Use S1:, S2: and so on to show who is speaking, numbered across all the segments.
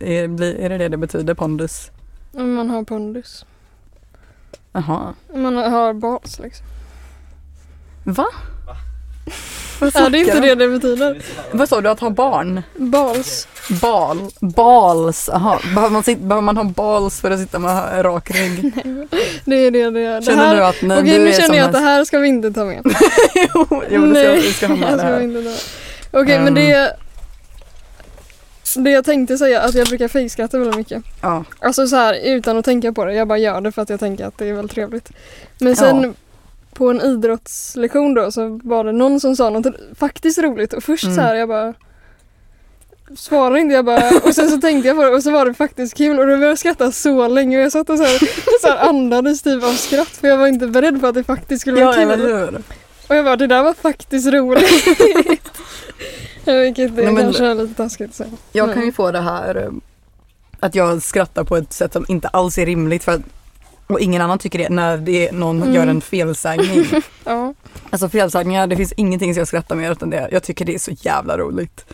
S1: Är, blir- är det det det betyder, pondus?
S2: Men Man har pondus.
S1: Jaha.
S2: Man har bas liksom.
S1: Va? Vad
S2: Är det inte
S1: snackar
S2: det
S1: du om?
S2: det betyder?
S1: Vad sa du, att ha barn?
S2: Bals.
S1: Bal? Bals? Jaha, behöver man, sit, behöver man ha bals för att sitta med rak rygg?
S2: Det är det det är. Det
S1: Känner du
S2: här...
S1: att nej,
S2: Okej
S1: du
S2: nu
S1: är
S2: känner
S1: som
S2: jag att det
S1: en-
S2: här ska vi inte ta med.
S1: jo, jo, det ska,
S2: Nej,
S1: vi ska ha med
S2: jag
S1: det
S2: ska
S1: här.
S2: inte dö. Okej men
S1: Ehm.
S2: det Det jag tänkte säga, att jag brukar fejkskratta väldigt mycket.
S1: Ja.
S2: Alltså så här utan att tänka på det, jag bara gör det för att jag tänker att det är väldigt trevligt. Men sen
S1: Ja.
S2: på en idrottslektion då så var det någon som sa något faktiskt roligt och först
S1: Mm.
S2: så här jag bara Svarade inte jag bara och sen så tänkte jag på det och så var det faktiskt kul och då började jag skratta så länge och jag satt och så här, så här andades typ av skratt för jag var inte beredd på att det faktiskt skulle vara
S1: ja,
S2: kul.
S1: eller hur?
S2: Och jag bara, det där var faktiskt roligt. Vilket det
S1: Nej, men-
S2: kanske är lite taskigt att säga.
S1: Jag
S2: Mm.
S1: kan ju få det här eh, att jag skrattar på ett sätt som inte alls är rimligt för att, och ingen annan tycker det när det är någon
S2: Mm.
S1: gör en felsägning.
S2: Ja.
S1: Alltså felsägningar, det finns ingenting som jag skrattar mer åt än det. Jag tycker det är så jävla roligt.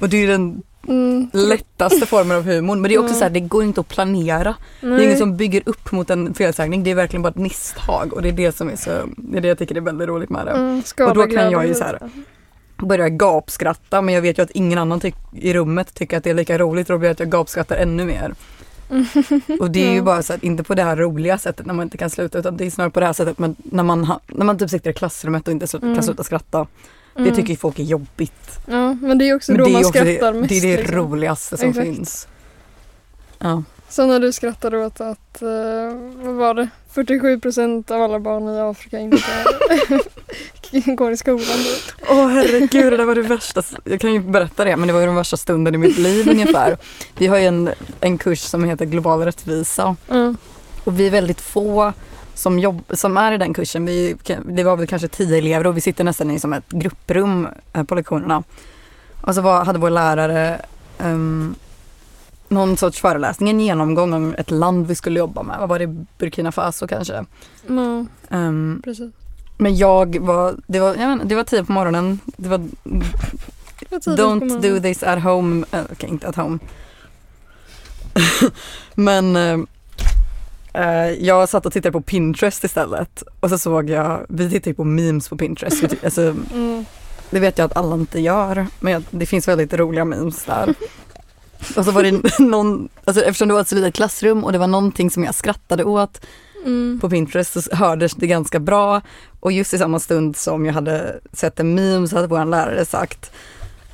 S1: Och det är ju den
S2: Mm.
S1: lättaste formen av humor. Men det är också
S2: Mm.
S1: så här, det går inte att planera. Det är
S2: Nej.
S1: inget som bygger upp mot en felsägning. Det är verkligen bara ett misstag och det är det som är så, det är det jag tycker är väldigt roligt med det.
S2: Mm,
S1: Och då kan
S2: skadeglädje
S1: jag ju
S2: lite.
S1: så här- Börjar gapskratta men jag vet ju att ingen annan tyck- i rummet tycker att det är lika roligt och då blir det att jag gapskrattar ännu mer.
S2: Mm.
S1: Och det är ju
S2: Ja.
S1: bara så att inte på det här roliga sättet när man inte kan sluta utan det är snarare på det här sättet men när man, ha- när man typ sitter i klassrummet och inte slu-
S2: Mm.
S1: kan sluta skratta.
S2: Mm.
S1: Det tycker ju folk är jobbigt.
S2: Ja, men det är också
S1: Men
S2: då
S1: det är
S2: man
S1: ju också
S2: skrattar
S1: det,
S2: mest.
S1: det, är det
S2: liksom.
S1: roligaste som
S2: Exakt.
S1: finns. Ja.
S2: Som när du skrattade åt att, eh, vad var det, 47 procent av alla barn i Afrika inte går i skolan.
S1: Åh herregud, det där var det värsta. Jag kan ju berätta det, men det var ju den värsta stunden i mitt liv ungefär. Vi har ju en, en kurs som heter Global rättvisa
S2: Mm.
S1: och vi är väldigt få som, jobb, som är i den kursen. Vi, det var väl kanske tio elever och vi sitter nästan i som ett grupprum eh, på lektionerna. Och så var, hade vår lärare ehm, någon sorts föreläsning, en genomgång om ett land vi skulle jobba med. Vad var det? Burkina Faso kanske?
S2: Ja,
S1: Ehm,
S2: precis.
S1: men jag var, det var, jag menar, det var tio på morgonen, det var
S2: Det var tidigt på
S1: Don't
S2: morgonen.
S1: do this at home. Eh, Okej, inte at home. Men eh, eh, jag satt och tittade på Pinterest istället och så såg jag, vi tittar ju på memes på Pinterest. Vi ty- Alltså,
S2: Mm.
S1: det vet jag att alla inte gör, men jag, det finns väldigt roliga memes där. Och så var det någon, alltså eftersom det var ett så litet klassrum och det var någonting som jag skrattade åt
S2: Mm.
S1: på Pinterest så hördes det ganska bra och just i samma stund som jag hade sett en meme så hade vår lärare sagt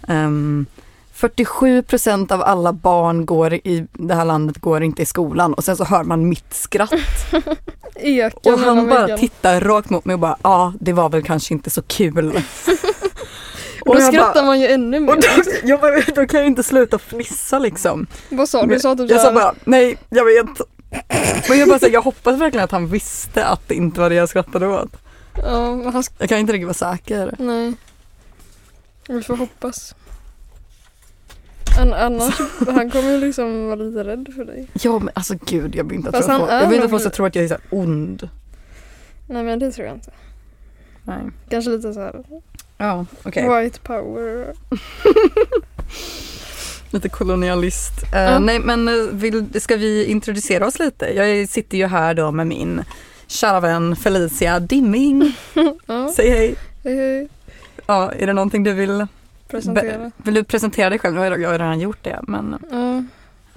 S1: ehm, 47% av alla barn går i det här landet går inte i skolan och sen så hör man mitt skratt
S2: Eka
S1: och han
S2: mellan
S1: bara
S2: väggarna.
S1: tittar rakt mot mig och bara ja det var väl kanske inte så kul.
S2: Och då
S1: jag
S2: skrattar
S1: bara,
S2: man ju ännu mer.
S1: och då, jag bara, då kan jag inte sluta fnissa liksom.
S2: Vad sa du? Du sa typ
S1: Jag sa
S2: såhär,
S1: bara nej jag vet. Men jag bara så här, jag hoppas verkligen att han visste att det inte var det jag skrattade åt.
S2: ja, men han
S1: Jag kan inte riktigt vara säker.
S2: Nej. Vi får hoppas. An- annars, han kommer ju liksom vara lite rädd för dig.
S1: Ja men alltså gud jag vill inte att
S2: Fast
S1: folk,
S2: han är
S1: jag vill inte att folk
S2: nog-
S1: ska tro att jag är så här ond.
S2: Nej men det tror jag inte.
S1: Nej.
S2: Kanske lite så här
S1: Ja okej.
S2: white power.
S1: Lite kolonialist. Eh,
S2: Ja.
S1: Nej men eh, vill, ska vi introducera oss lite? Jag sitter ju här då med min kära vän Felicia Dimming.
S2: Ja,
S1: Säg hej.
S2: hej, hej.
S1: Ja, är det någonting du vill,
S2: Presentera.
S1: vill du presentera dig själv? Jag har jag har redan gjort det men
S2: Ja.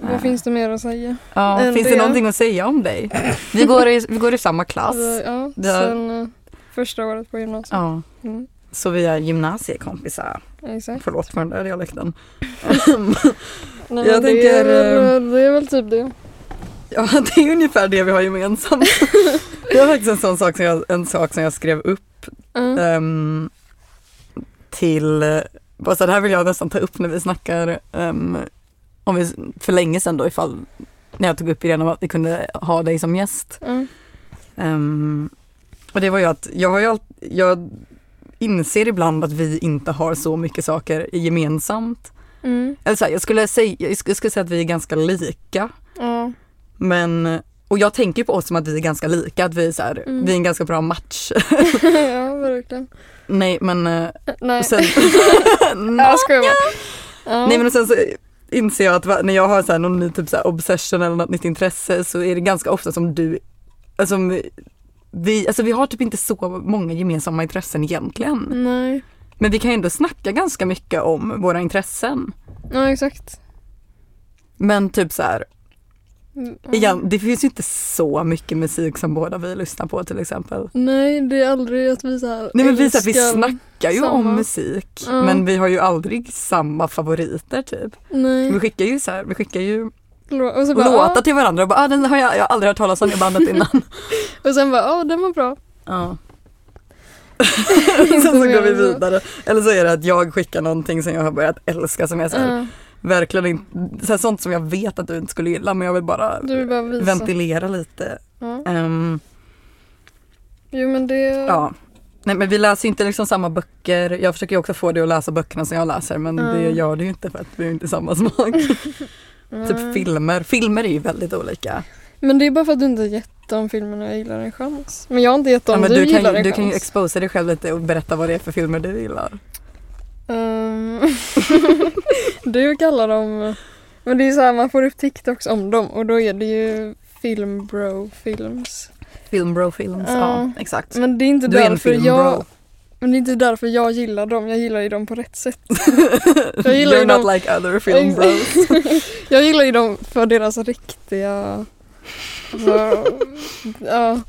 S1: Eh.
S2: Vad finns det mer att säga?
S1: ja,
S2: Än
S1: finns det
S2: det?
S1: någonting att säga om dig? Vi går i, vi går i samma klass.
S2: Vi- Ja,
S1: det har-
S2: sen eh, första året på gymnasiet.
S1: Ja,
S2: Mm,
S1: så vi är gymnasiekompisar.
S2: exakt.
S1: Förlåt för den där dialekten. Ehm,
S2: Nej,
S1: Jag
S2: men
S1: tänker, ehm,
S2: Det är, väl- det är väl typ det.
S1: Ja, det är ungefär det vi har gemensamt. Det var faktiskt en sån sak som jag, en sak som jag skrev upp
S2: Ja.
S1: ehm, till, eh, bara så här, det här vill jag nästan ta upp när vi snackar, ehm, om vi, för länge sedan då ifall, när jag tog upp idén om att vi kunde ha dig som gäst.
S2: Ja.
S1: Ehm, och det var ju att jag har ju allt, jag inser ibland att vi inte har så mycket saker gemensamt.
S2: Mm.
S1: Eller så här, jag skulle säga, jag skulle jag skulle säga att vi är ganska lika.
S2: Ja.
S1: Men, och jag tänker ju på oss som att vi är ganska lika, att vi är, så här,
S2: Mm.
S1: vi är en ganska bra match.
S2: ja, verkligen.
S1: Nej men eh,
S2: Nej,
S1: sen...
S2: jag skojar bara. Ja.
S1: Nej men sen så inser jag att va- när jag har så här någon ny typ så här obsession eller något nytt intresse så är det ganska ofta som du, alltså som vi, alltså vi har typ inte så många gemensamma intressen egentligen.
S2: Nej.
S1: Men vi kan ju ändå snacka ganska mycket om våra intressen.
S2: Ja, exakt.
S1: Men typ så här,
S2: Mm, ja.
S1: igen, det finns ju inte så mycket musik som båda vi lyssnar på till exempel.
S2: Nej, det är aldrig att vi så här
S1: Nej men vi, så här, vi
S2: Typ. älskar-
S1: snackar ju om
S2: samma.
S1: musik
S2: Ja.
S1: men vi har ju aldrig samma favoriter typ. Vi
S2: Nej.
S1: skickar ju så här, vi skickar ju
S2: Lå- Och så bara,
S1: låtar
S2: ah,
S1: till varandra och bara ah, den har jag, jag har aldrig hört talas om det bandet innan.
S2: och sen bara, ja ah, den var bra.
S1: ja. Sen så
S2: mer
S1: går vi
S2: än så.
S1: vidare. Eller så är det att jag skickar någonting som jag har börjat älska som jag så här,
S2: Ja,
S1: verkligen inte, så här, sånt som jag vet att du inte skulle gilla men jag vill bara
S2: du vill bara visa.
S1: ventilera lite.
S2: Ja.
S1: Ehm,
S2: Jo men det,
S1: Ja. Nej men vi läser ju inte liksom samma böcker. Jag försöker ju också få dig att läsa böckerna som jag läser men
S2: Mm.
S1: det gör du ju inte för att vi har inte samma smak.
S2: Nej.
S1: typ filmer. Filmer är ju väldigt olika.
S2: Men det är bara för att du inte har gett de filmerna jag gillar en chans. Men jag har inte gett dem
S1: Ja, men du,
S2: du, gillar
S1: kan, ju-
S2: en
S1: du
S2: chans.
S1: kan ju exposa dig själv lite och berätta vad det är för filmer du gillar.
S2: Ehm, du kallar dem... Men det är ju så här, man får upp TikToks om dem och då är det ju filmbro-films.
S1: Filmbro films, ja
S2: Ja.
S1: exakt.
S2: Men det är inte
S1: Du är en
S2: därför jag...
S1: filmbro.
S2: Men det är inte därför jag gillar dem, jag gillar ju dem på rätt sätt. Jag gillar ju
S1: You're
S2: dem,
S1: not like other film bros.
S2: jag gillar ju dem för deras riktiga... Alltså, ja.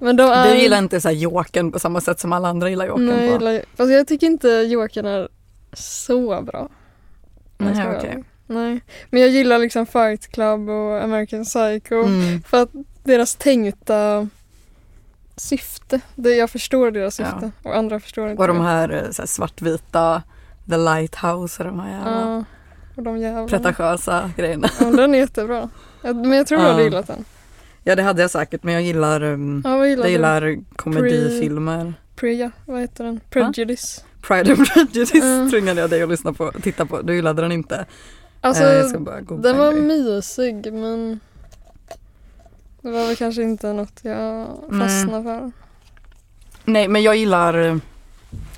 S2: Men de är...
S1: Du gillar inte så här Jokern på samma sätt som alla andra gillar Jokern
S2: Nej,
S1: på.
S2: jag gillar ju... Fast jag tycker inte Joakim är så bra. Om jag
S1: Nej,
S2: ska vara
S1: okej.
S2: ärlig. Nej, men jag gillar liksom Fight Club och American Psycho
S1: Mm.
S2: för att deras tänkta syfte, det jag förstår deras
S1: Ja.
S2: syfte och andra förstår inte
S1: Och de
S2: det.
S1: här, eh, så här svartvita, The Lighthouse och de här jävla
S2: Ja, och de jävlarna.
S1: pretentiösa grejerna.
S2: Ja, den är jättebra. Jag, men jag tror du
S1: Ja.
S2: hade gillat den.
S1: Ja det hade jag säkert men jag gillar, um,
S2: Ja, vad gillar
S1: jag
S2: du?
S1: gillar komedifilmer.
S2: Priya, vad heter den? Prejudice.
S1: Pride and Prejudice
S2: Mm.
S1: tvingade jag dig att lyssna på, titta på. Du gillade den inte.
S2: Alltså,
S1: eh, jag ska bara googla
S2: den var
S1: en grej.
S2: mysig men det var väl kanske inte något jag
S1: Nej.
S2: fastnade för.
S1: Nej men jag gillar, eh,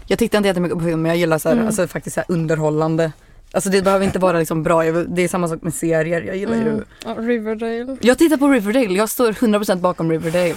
S1: jag tittar inte jättemycket på film men jag gillar så här,
S2: Mm.
S1: alltså, faktiskt så här underhållande. Alltså det behöver inte vara liksom bra, jag, det är samma sak med serier. Jag gillar ju
S2: Mm. Ja, Riverdale.
S1: jag tittar på Riverdale, jag står 100% bakom Riverdale.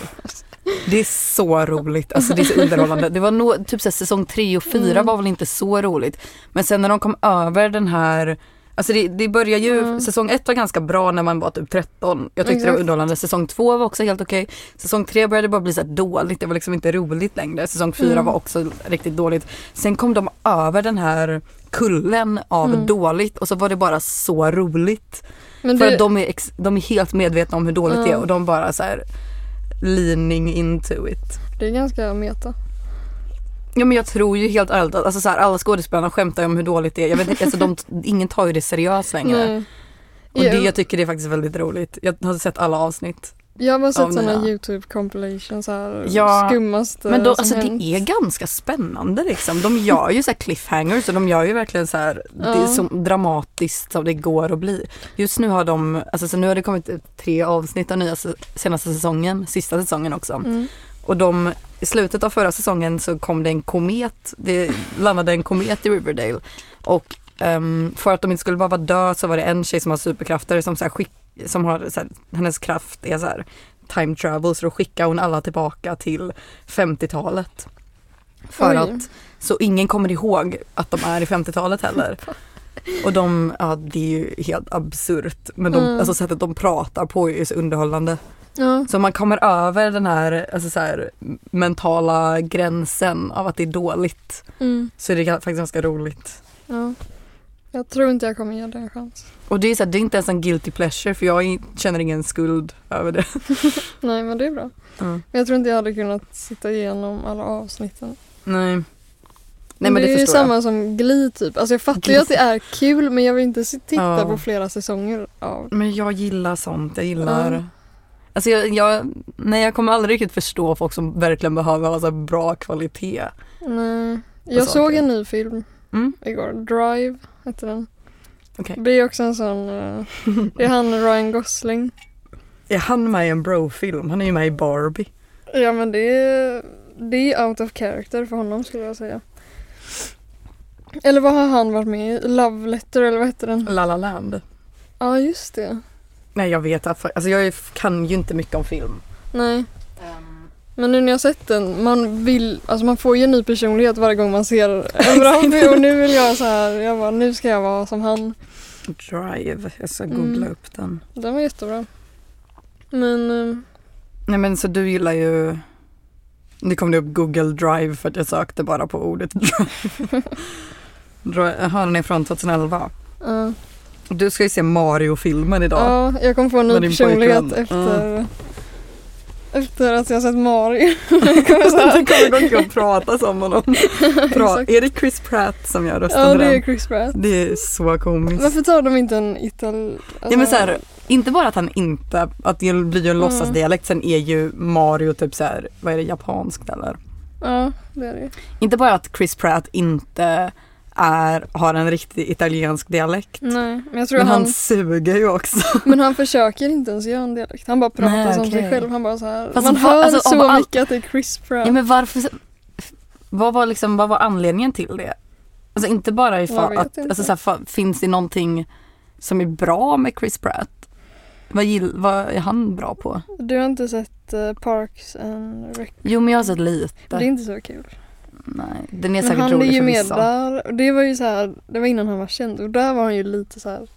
S1: Det är så roligt, alltså det är så underhållande. Det var nog, typ så här, säsong 3 och 4
S2: Mm.
S1: var väl inte så roligt. Men sen när de kom över den här, alltså det, det börjar ju,
S2: Mm.
S1: säsong 1 var ganska bra när man var typ 13. Jag tyckte det var
S2: Exakt.
S1: underhållande. Säsong 2 var också helt okej. Säsong 3 började bara bli så här dåligt, det var liksom inte roligt längre. Säsong 4
S2: Mm.
S1: var också riktigt dåligt. Sen kom de över den här kullen av
S2: Mm.
S1: dåligt och så var det bara så roligt.
S2: Men
S1: För
S2: det-
S1: att de är, ex, de är helt medvetna om hur dåligt det är
S2: Ja.
S1: och de bara så här leaning into it.
S2: Det är ganska meta.
S1: Ja men jag tror ju helt ärligt att alltså så här, alla skådespelarna skämtar ju om hur dåligt det är. Jag vet inte, alltså de, ingen tar ju det seriöst längre.
S2: Nej.
S1: Och det
S2: Jag,
S1: jag tycker det är faktiskt väldigt roligt. Jag har sett alla avsnitt.
S2: jag har bara
S1: Ja,
S2: sett sådana
S1: mina.
S2: youtube compilations här
S1: Ja,
S2: skummaste
S1: Men då,
S2: som
S1: alltså
S2: hänt.
S1: det är ganska spännande liksom. De gör ju så här cliffhangers och de gör ju verkligen så här, det är
S2: Ja.
S1: så dramatiskt som det går att bli. Just nu har de, alltså så nu har det kommit ut tre avsnitt av nya se- senaste säsongen, sista säsongen också.
S2: Mm.
S1: Och de, i slutet av förra säsongen så kom det en komet, det landade en komet i Riverdale. Och ehm, för att de inte skulle behöva dö så var det en tjej som har superkrafter som, så här skick, som har, så här, hennes kraft är så här time travel så då skickar hon alla tillbaka till 50-talet. För
S2: Oj.
S1: att, så ingen kommer ihåg att de är i 50-talet heller. Och de, ja det är ju helt absurt. Men de,
S2: Mm.
S1: alltså sättet de pratar på är ju så underhållande.
S2: Ja.
S1: Så man kommer över den här, alltså så här mentala gränsen av att det är dåligt
S2: Mm.
S1: så är det ga- faktiskt ganska roligt.
S2: ja. Jag tror inte jag kommer ge det en chans.
S1: Och det är, så här, det är inte ens en guilty pleasure för jag är- känner ingen skuld över det.
S2: Nej men det är bra. Men jag tror inte jag hade kunnat sitta igenom alla avsnitten.
S1: Nej. Nej men det,
S2: är ju
S1: förstår
S2: samma som Glee typ. Alltså jag fattar ju att det är kul men jag vill inte si- titta
S1: Ja.
S2: på flera säsonger av
S1: jag. Men jag gillar sånt, jag gillar
S2: Mm.
S1: Alltså jag, jag, nej jag kommer aldrig riktigt förstå folk som verkligen behöver ha så här bra kvalitet.
S2: Nej. Jag
S1: saker.
S2: såg en ny film
S1: Mm.
S2: igår. Drive hette den.
S1: Okej.
S2: Det är också en sån... eh, det är han Ryan Gosling.
S1: Är han med i en brofilm? Han är ju med i Barbie.
S2: Ja men det är, det är out of character för honom skulle jag säga. Eller vad har han varit med i? Love Letter eller vad heter den?
S1: La La Land.
S2: Ja, just det.
S1: Nej jag vet att- alltså jag är- kan ju inte mycket om film.
S2: Nej. Men nu när jag har sett den, man vill, alltså man får ju en ny personlighet varje gång man ser en bra film och nu vill jag så här, jag bara, nu ska jag vara som han.
S1: Drive, jag ska googla
S2: Mm.
S1: upp den.
S2: Den var jättebra. Men, eh,
S1: Nej men så du gillar ju, nu kom det upp Google Drive för att jag sökte bara på ordet Drive. Drive. Jaha, den är från 2011.
S2: ja.
S1: Du ska ju se Mario-filmen idag.
S2: ja, jag kommer få en
S1: Med
S2: ny
S1: din
S2: personlighet
S1: pojkvän. Mm.
S2: efter, efter att jag har sett Mario. jag kommer så
S1: Du
S2: här,
S1: kommer gå omkring och prata som honom. Pra-
S2: Exakt.
S1: är det Chris Pratt som gör rösten
S2: ja,
S1: till
S2: det är
S1: den?
S2: Chris Pratt.
S1: Det är så komiskt.
S2: Varför tar de inte en ital... alltså-
S1: Ja men så här, inte bara att han inte, att det blir ju en låtsasdialekt, sen är ju Mario typ så här, vad är det, japanskt eller?
S2: Ja, det är det ju.
S1: Inte bara att Chris Pratt inte är, har en riktig italiensk dialekt.
S2: Nej, men jag tror
S1: Men
S2: han...
S1: han suger ju också.
S2: Men han försöker inte ens göra en dialekt. Han bara pratar
S1: Nej,
S2: som sig
S1: okej.
S2: själv. Han bara så här.
S1: Fast
S2: man
S1: va-
S2: hör
S1: alltså, av
S2: så
S1: allt-
S2: mycket att det är Chris Pratt.
S1: Ja men varför, vad var liksom, vad var anledningen till det? Alltså inte bara
S2: Jag
S1: ifall
S2: vet
S1: att,
S2: inte.
S1: alltså så här, fa- finns det någonting som är bra med Chris Pratt? Vad, gill, vad är han bra på?
S2: Du har inte sett eh, Parks and Rec?
S1: Jo men jag har sett lite.
S2: Det är inte så kul.
S1: Nej, den är
S2: Men
S1: säkert
S2: han är
S1: rolig
S2: ju
S1: för
S2: med
S1: vissa.
S2: där. Och det var ju så här, det var innan han var känd och där var han ju lite så här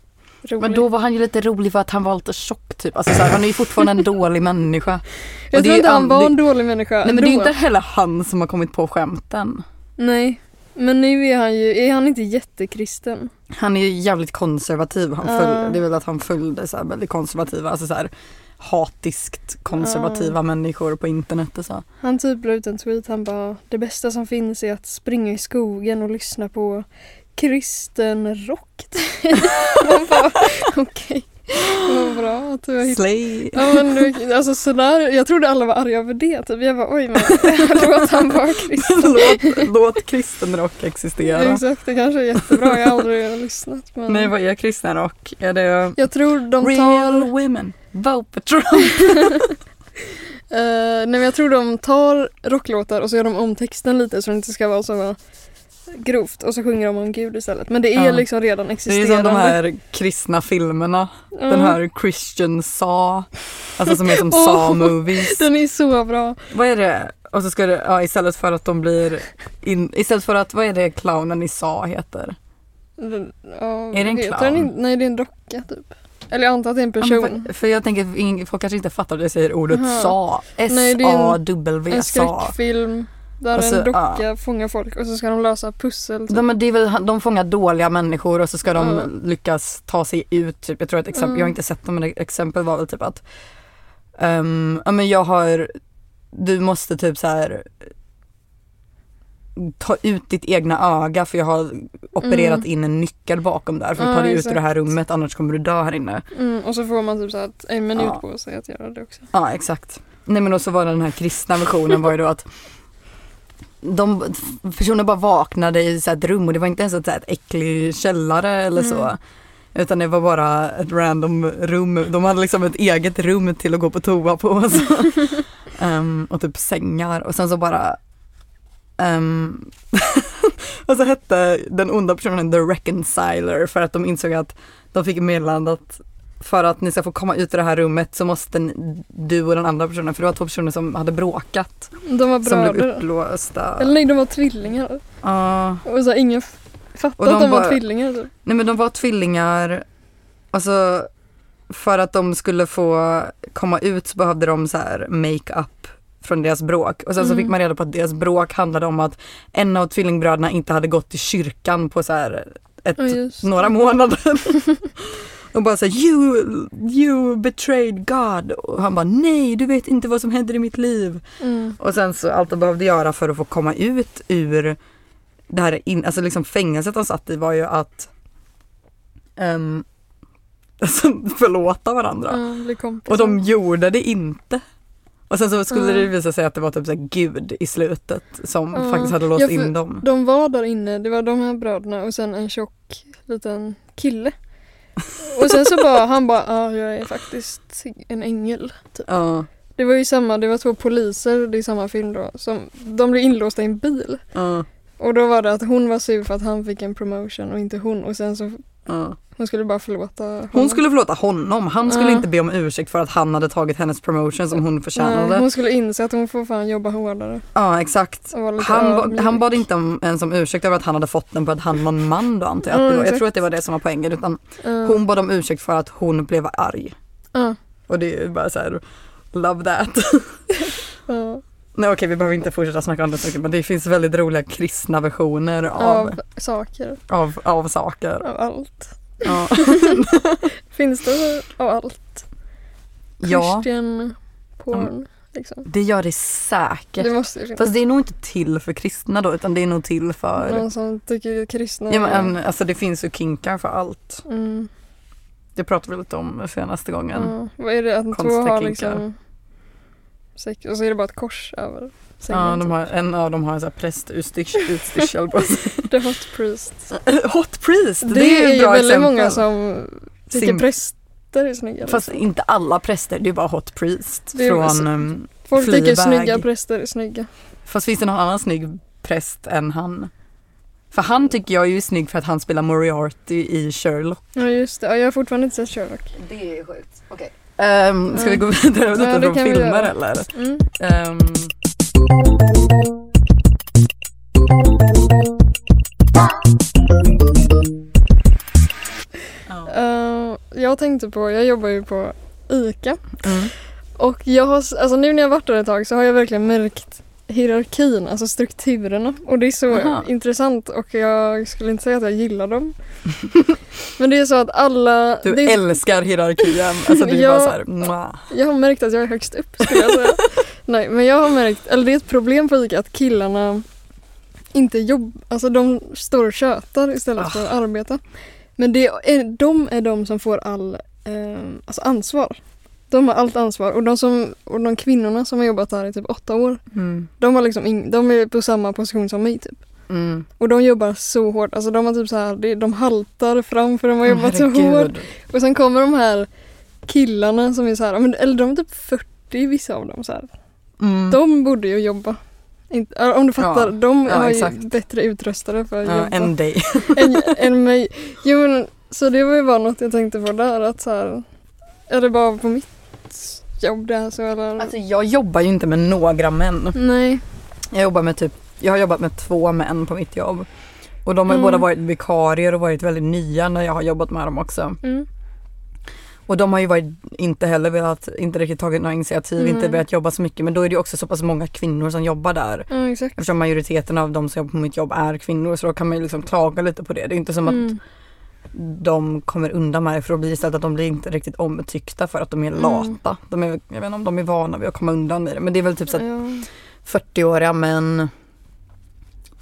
S2: rolig.
S1: Men då var han ju lite rolig för att han var lite tjock typ. Alltså så här, han är ju fortfarande en dålig människa.
S2: jag
S1: och det är
S2: tror
S1: ju
S2: inte han
S1: an-
S2: var
S1: det-
S2: en dålig människa
S1: Nej men det är ju
S2: då.
S1: inte heller han som har kommit på skämten.
S2: Nej. Men nu är han ju, är han inte jättekristen?
S1: Han är ju jävligt konservativ. Han
S2: Ja.
S1: följde, det är väl att han följde så här väldigt konservativa, alltså så här hatiskt konservativa människor på internet och så.
S2: Han typ la ut en tweet, han bara det bästa som finns är att springa i skogen och lyssna på kristen rock. man bara okej, vad bra att du har hittat.
S1: Slay.
S2: Ja men du, alltså sådär, jag trodde alla var arga över det typ. Jag bara oj men låt han vara kristen.
S1: låt, låt kristen rock existera.
S2: Exakt, det kanske är jättebra, jag har aldrig lyssnat men
S1: Nej vad är kristen rock? Är det
S2: jag tror de tar
S1: Real women, vote for Trump.
S2: Eh, nej men jag tror de tar rocklåtar och så gör de om texten lite så det inte ska vara så grovt och så sjunger de om Gud istället. Men det är
S1: Ja.
S2: liksom redan
S1: Det är ju
S2: existerande.
S1: som de här kristna filmerna.
S2: Ja.
S1: Den här Christian Saw. Alltså som är som
S2: Åh.
S1: Saw-movies.
S2: Den är så bra.
S1: Vad är det? Och så ska det, ja istället för att de blir, in, istället för att, vad är det clownen i Saw heter?
S2: Den- ja,
S1: Är det en
S2: heter
S1: clown?
S2: den inte- nej det är en docka typ. Eller jag antar att det är en
S1: Ja, men
S2: person.
S1: för- För jag tänker, att ing- folk kanske inte fattar att jag säger ordet
S2: Aha.
S1: sa.
S2: Nej, det är en-
S1: S-A-W,
S2: en
S1: sa.
S2: skräckfilm där
S1: Och så-
S2: en docka fångar folk och så ska de lösa pussel. Typ.
S1: De, de, de fångar dåliga människor och så ska de
S2: Ja.
S1: lyckas ta sig ut. Typ. Jag tror att exempel,
S2: Mm.
S1: jag har inte sett dem men ett exempel var väl typ att ehm, ja, men jag har, du måste typ så här ta ut ditt egna öga för jag har opererat in en nyckel bakom där för att
S2: Mm. Ja,
S1: ta dig ut ur det
S2: exakt.
S1: här rummet annars kommer du dö här inne.
S2: Mm, och så får man typ så här en minut
S1: Ja.
S2: på sig att göra det också.
S1: Ja exakt. Nej men och så var det den här kristna versionen var ju då att de personer bara vaknade i så här ett rum och det var inte ens ett, så här ett äcklig källare eller så.
S2: Mm.
S1: Utan det var bara ett random rum. De hade liksom ett eget rum till att gå på toa på. Och, så. Ehm, och typ sängar och sen så bara ehm, och så hette den onda personen The Reconciler för att de insåg att de fick meddelande att för att ni ska få komma ut ur det här rummet så måste ni, du och den andra personen, för det var två personer som hade bråkat,
S2: De var
S1: som blev
S2: bröder.
S1: upplåsta.
S2: Eller nej de var tvillingar.
S1: Ja.
S2: Och så här, ingen f-
S1: Och
S2: fattade
S1: de
S2: att de var
S1: bara-
S2: tvillingar typ.
S1: nej men de var tvillingar, alltså för att de skulle få komma ut så behövde de så här make-up från deras bråk och sen så
S2: Mm.
S1: fick man reda på att deras bråk handlade om att en av tvillingbröderna inte hade gått till kyrkan på så här ett
S2: Ja, just det.
S1: några månader. och bara såhär, you, you betrayed God. Och han bara, nej du vet inte vad som händer i mitt liv.
S2: Mm.
S1: Och sen så allt de behövde göra för att få komma ut ur det här in, alltså liksom fängelset de satt i var ju att um, alltså, förlåta varandra.
S2: Ja, bli kompisar.
S1: Och de gjorde det inte. Och sen så skulle
S2: Mm.
S1: det visa sig att det var typ så här Gud i slutet som
S2: Mm.
S1: faktiskt hade låst
S2: Ja, för-
S1: in dem.
S2: De var där inne, det var de här bröderna och sen en tjock liten kille. Och sen så bara han bara, ja jag är faktiskt en ängel.
S1: Ja,
S2: Det var ju samma, det var två poliser, det är samma film då, som de blev inlåsta i en bil.
S1: ja.
S2: Och då var det att hon var sur för att han fick en promotion och inte hon och sen så
S1: Ja.
S2: hon skulle bara förlåta honom.
S1: Hon skulle förlåta honom. Han skulle
S2: Ja.
S1: inte be om ursäkt för att han hade tagit hennes promotion som hon förtjänade.
S2: Mm. Nej, hon skulle inse att hon får fan jobba hårdare.
S1: Ja, exakt.
S2: Och vara lite
S1: Han, ba-
S2: ödmjuk.
S1: han bad inte om, ens om ursäkt över att han hade fått den för att han var en man då antar jag. att
S2: Mm,
S1: det var. Jag
S2: exakt. Mm.
S1: tror att det var det som var poängen. Utan
S2: Ja.
S1: hon bad om ursäkt för att hon blev arg.
S2: Ja,
S1: Och det är ju bara så här, love that.
S2: ja.
S1: Nej okej vi behöver inte fortsätta snacka om det så mycket, men det finns väldigt roliga kristna versioner av,
S2: Av saker,
S1: av, av saker.
S2: av allt.
S1: Ja.
S2: Finns det av allt?
S1: ja,
S2: Christian porn, liksom.
S1: det gör det säkert.
S2: Det måste ju finnas.
S1: Fast det är nog inte till för kristna då utan det är nog till för
S2: Någon som tycker kristna
S1: Ja, men, alltså det finns ju kinkar för allt.
S2: mm.
S1: Det pratade vi lite om senaste gången.
S2: ja. Vad är det att två
S1: konstiga
S2: har
S1: kinkar.
S2: liksom sex och så är det bara ett kors över sängen.
S1: Ja, de
S2: typ.
S1: har, en av dem har en sån här prästutstyrsel på sig.
S2: The hot priest.
S1: Hot priest!
S2: Det,
S1: Det,
S2: är,
S1: är ett
S2: ju
S1: bra
S2: väldigt
S1: exempel.
S2: många som tycker
S1: Sim-
S2: präster är snygga.
S1: Fast
S2: liksom.
S1: inte alla präster, det är bara hot priest.
S2: Det är-
S1: Från, ehm,
S2: Folk tycker
S1: Fleabag.
S2: snygga präster är snygga.
S1: fast finns det någon annan snygg präst än han? För han tycker jag är ju snygg för att han spelar Moriarty i Sherlock.
S2: Ja just det, ja, jag har fortfarande inte sett Sherlock.
S1: Det är sjukt. Okej. Um, ska vi gå vidare lite
S2: Mm. Ja, det
S1: från
S2: kan vi
S1: filmer
S2: göra.
S1: eller?
S2: Mm.
S1: Ehm. Ja.
S2: Eh, jag tänkte på, jag jobbar ju på ICA
S1: Mm.
S2: och jag har, s- alltså nu när jag varit där ett tag så har jag verkligen märkt hierarkin, alltså strukturerna och det är så
S1: Aha.
S2: intressant och jag skulle inte säga att jag gillar dem. Men det är så att alla,
S1: Du
S2: det är,
S1: älskar hierarkien. Alltså du är
S2: Ja.
S1: bara såhär, mwah.
S2: jag har märkt att jag är högst upp skulle jag säga. Nej men jag har märkt, eller det är ett problem på ICA att killarna inte jobbar, alltså de står och tjötar istället för att arbeta. Men det är, de är de som får all eh, alltså ansvar. De har allt ansvar och de, som, och de kvinnorna som har jobbat där i typ åtta år,
S1: Mm.
S2: de, har liksom ing, de är på samma position som mig typ.
S1: Mm.
S2: Och de jobbar så hårt, alltså de har typ så här, det- de haltar fram för de har jobbat så
S1: Herregud.
S2: hårt. Och sen kommer de här killarna som är så här, ja, men- eller de är typ 40 vissa av dem så här.
S1: Mm.
S2: De borde ju jobba. Inte, äh, om du fattar,
S1: Ja.
S2: de
S1: Ja,
S2: har
S1: exakt.
S2: ju bättre utrustade för att
S1: Ja,
S2: jobba
S1: en dig.
S2: än, än mig. Jo men, så det var ju bara något jag tänkte på där att så här, är det bara på mitt jobb det här så eller?
S1: Alltså jag jobbar ju inte med några män.
S2: Nej.
S1: Jag jobbar med typ, jag har jobbat med två män på mitt jobb. Och de har ju
S2: Mm.
S1: båda varit vikarier och varit väldigt nya när jag har jobbat med dem också.
S2: Mm.
S1: Och de har ju varit, inte heller velat, inte riktigt tagit några initiativ,
S2: Mm.
S1: inte velat jobba så mycket. Men då är det ju också så pass många kvinnor som jobbar där.
S2: Ja exakt.
S1: Eftersom majoriteten av de som jobbar på mitt jobb är kvinnor så då kan man ju liksom klaga lite på det. Det är inte som att
S2: Mm.
S1: de kommer undan med det för då blir det istället att de blir inte riktigt omtyckta för att de är
S2: Mm.
S1: lata. De är, jag vet inte om de är vana vid att komma undan med det men det är väl typ så att
S2: Ja.
S1: 40-åriga män,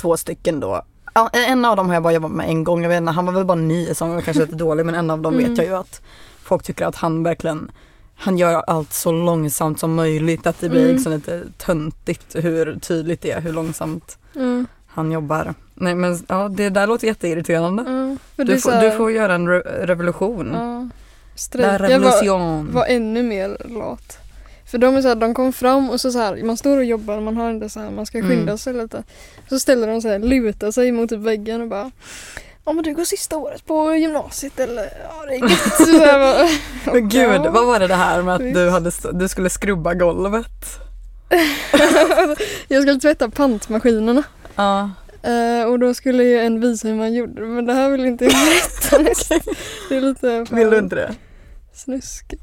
S1: två stycken då. Ja, En av dem har jag bara jobbat med en gång, jag vet inte, han var väl bara ny så han var kanske lite dålig men en av dem
S2: Mm.
S1: vet jag ju att folk tycker att han verkligen han gör allt så långsamt som möjligt att det blir
S2: Mm.
S1: liksom lite töntigt hur tydligt det är hur långsamt
S2: Ja.
S1: han jobbar. Nej men ja, det där låter jätteirriterande.
S2: Ja. För det är
S1: Du
S2: så
S1: får, du
S2: här,
S1: får göra en re- revolution.
S2: ja.
S1: La
S2: Strejk. Jag var,
S1: revolution.
S2: var ännu mer lat. För de är så här, de kom fram och så, så här, man står och jobbar, man har inte så här, man ska skynda
S1: Mm.
S2: sig lite. Så ställer de sig, lutar sig mot typ väggen och bara Ja men du går sista året på gymnasiet eller ja det är gött. Så här, bara,
S1: Men gud, vad var det det här med att du,
S2: Visst.
S1: hade, du skulle skrubba golvet?
S2: Jag skulle tvätta pantmaskinerna.
S1: Ja.
S2: Eh, och då skulle ju en visa hur man gjorde det, men det här vill inte jag berätta nästan. Det är lite för
S1: Vill du inte det?
S2: snuskigt.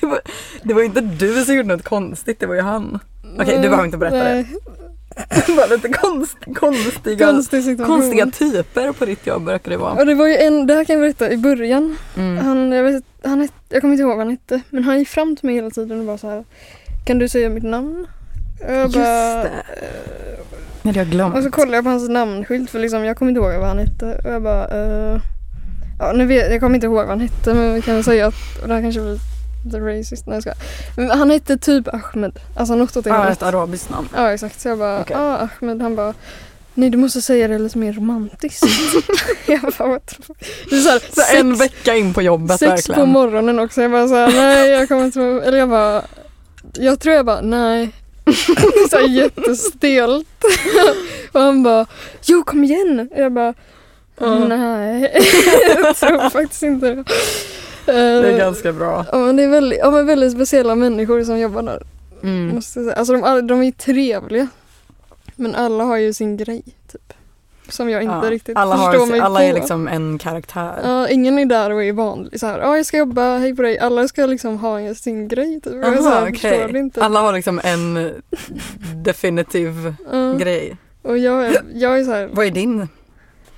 S1: Det var, det var inte du som gjorde något konstigt, det var ju han. Okej, du behöver inte berätta
S2: Nej,
S1: det. Bara lite konst, konstiga,
S2: Konstig situation.
S1: konstiga typer på ditt jobb verkar det vara.
S2: Och det var ju en, det här kan jag berätta i början.
S1: Mm.
S2: Han, jag, vet, han het, jag kommer inte ihåg vad han hette, men han gick fram till mig hela tiden och bara så här. Kan du säga mitt namn? Och jag
S1: Just
S2: bara, eh,
S1: det. Nej, det har jag glömt.
S2: Och så kollade jag på hans namnskylt för liksom, jag kommer inte ihåg vad han hette och jag bara eh, Ja nu vet jag, kommer inte ihåg vad han hette men vi kan väl säga att, och det här kanske blir lite racist, nej jag skojar. Men Han hette typ Ahmed, alltså något åt det
S1: Ja,
S2: hållet.
S1: ett arabiskt namn.
S2: Ja exakt, så jag bara
S1: Okej.
S2: ah Ahmed, han bara Nej du måste säga det lite mer romantiskt. jag bara what the fuck. Det är så här,
S1: Så
S2: sex,
S1: en vecka in på jobbet
S2: sex på
S1: verkligen.
S2: morgonen också, jag bara såhär nej jag kommer inte ihåg, eller jag bara Jag tror jag bara nej så här jättestelt. och han bara, jo kom igen. Och jag bara,
S1: Ja.
S2: nej. jag tror faktiskt inte det.
S1: Det är
S2: Eh,
S1: ganska bra.
S2: Ja men det är väldigt, ja, men väldigt speciella människor som jobbar där.
S1: Mm.
S2: Måste jag säga. Alltså de, all- de är ju trevliga. Men alla har ju sin grej typ. Som jag inte
S1: Ja.
S2: riktigt
S1: alla
S2: förstår
S1: har,
S2: mig
S1: Alla
S2: på.
S1: är liksom en karaktär.
S2: Ja, ingen är där och är vanlig så här. Ja, jag ska jobba, hej på dig. Alla ska liksom ha en- sin grej typ. Jag så
S1: Aha,
S2: här,
S1: okej.
S2: förstår det inte.
S1: Alla har liksom en definitiv
S2: Ja,
S1: grej.
S2: och jag är, jag är så här,
S1: Vad är din?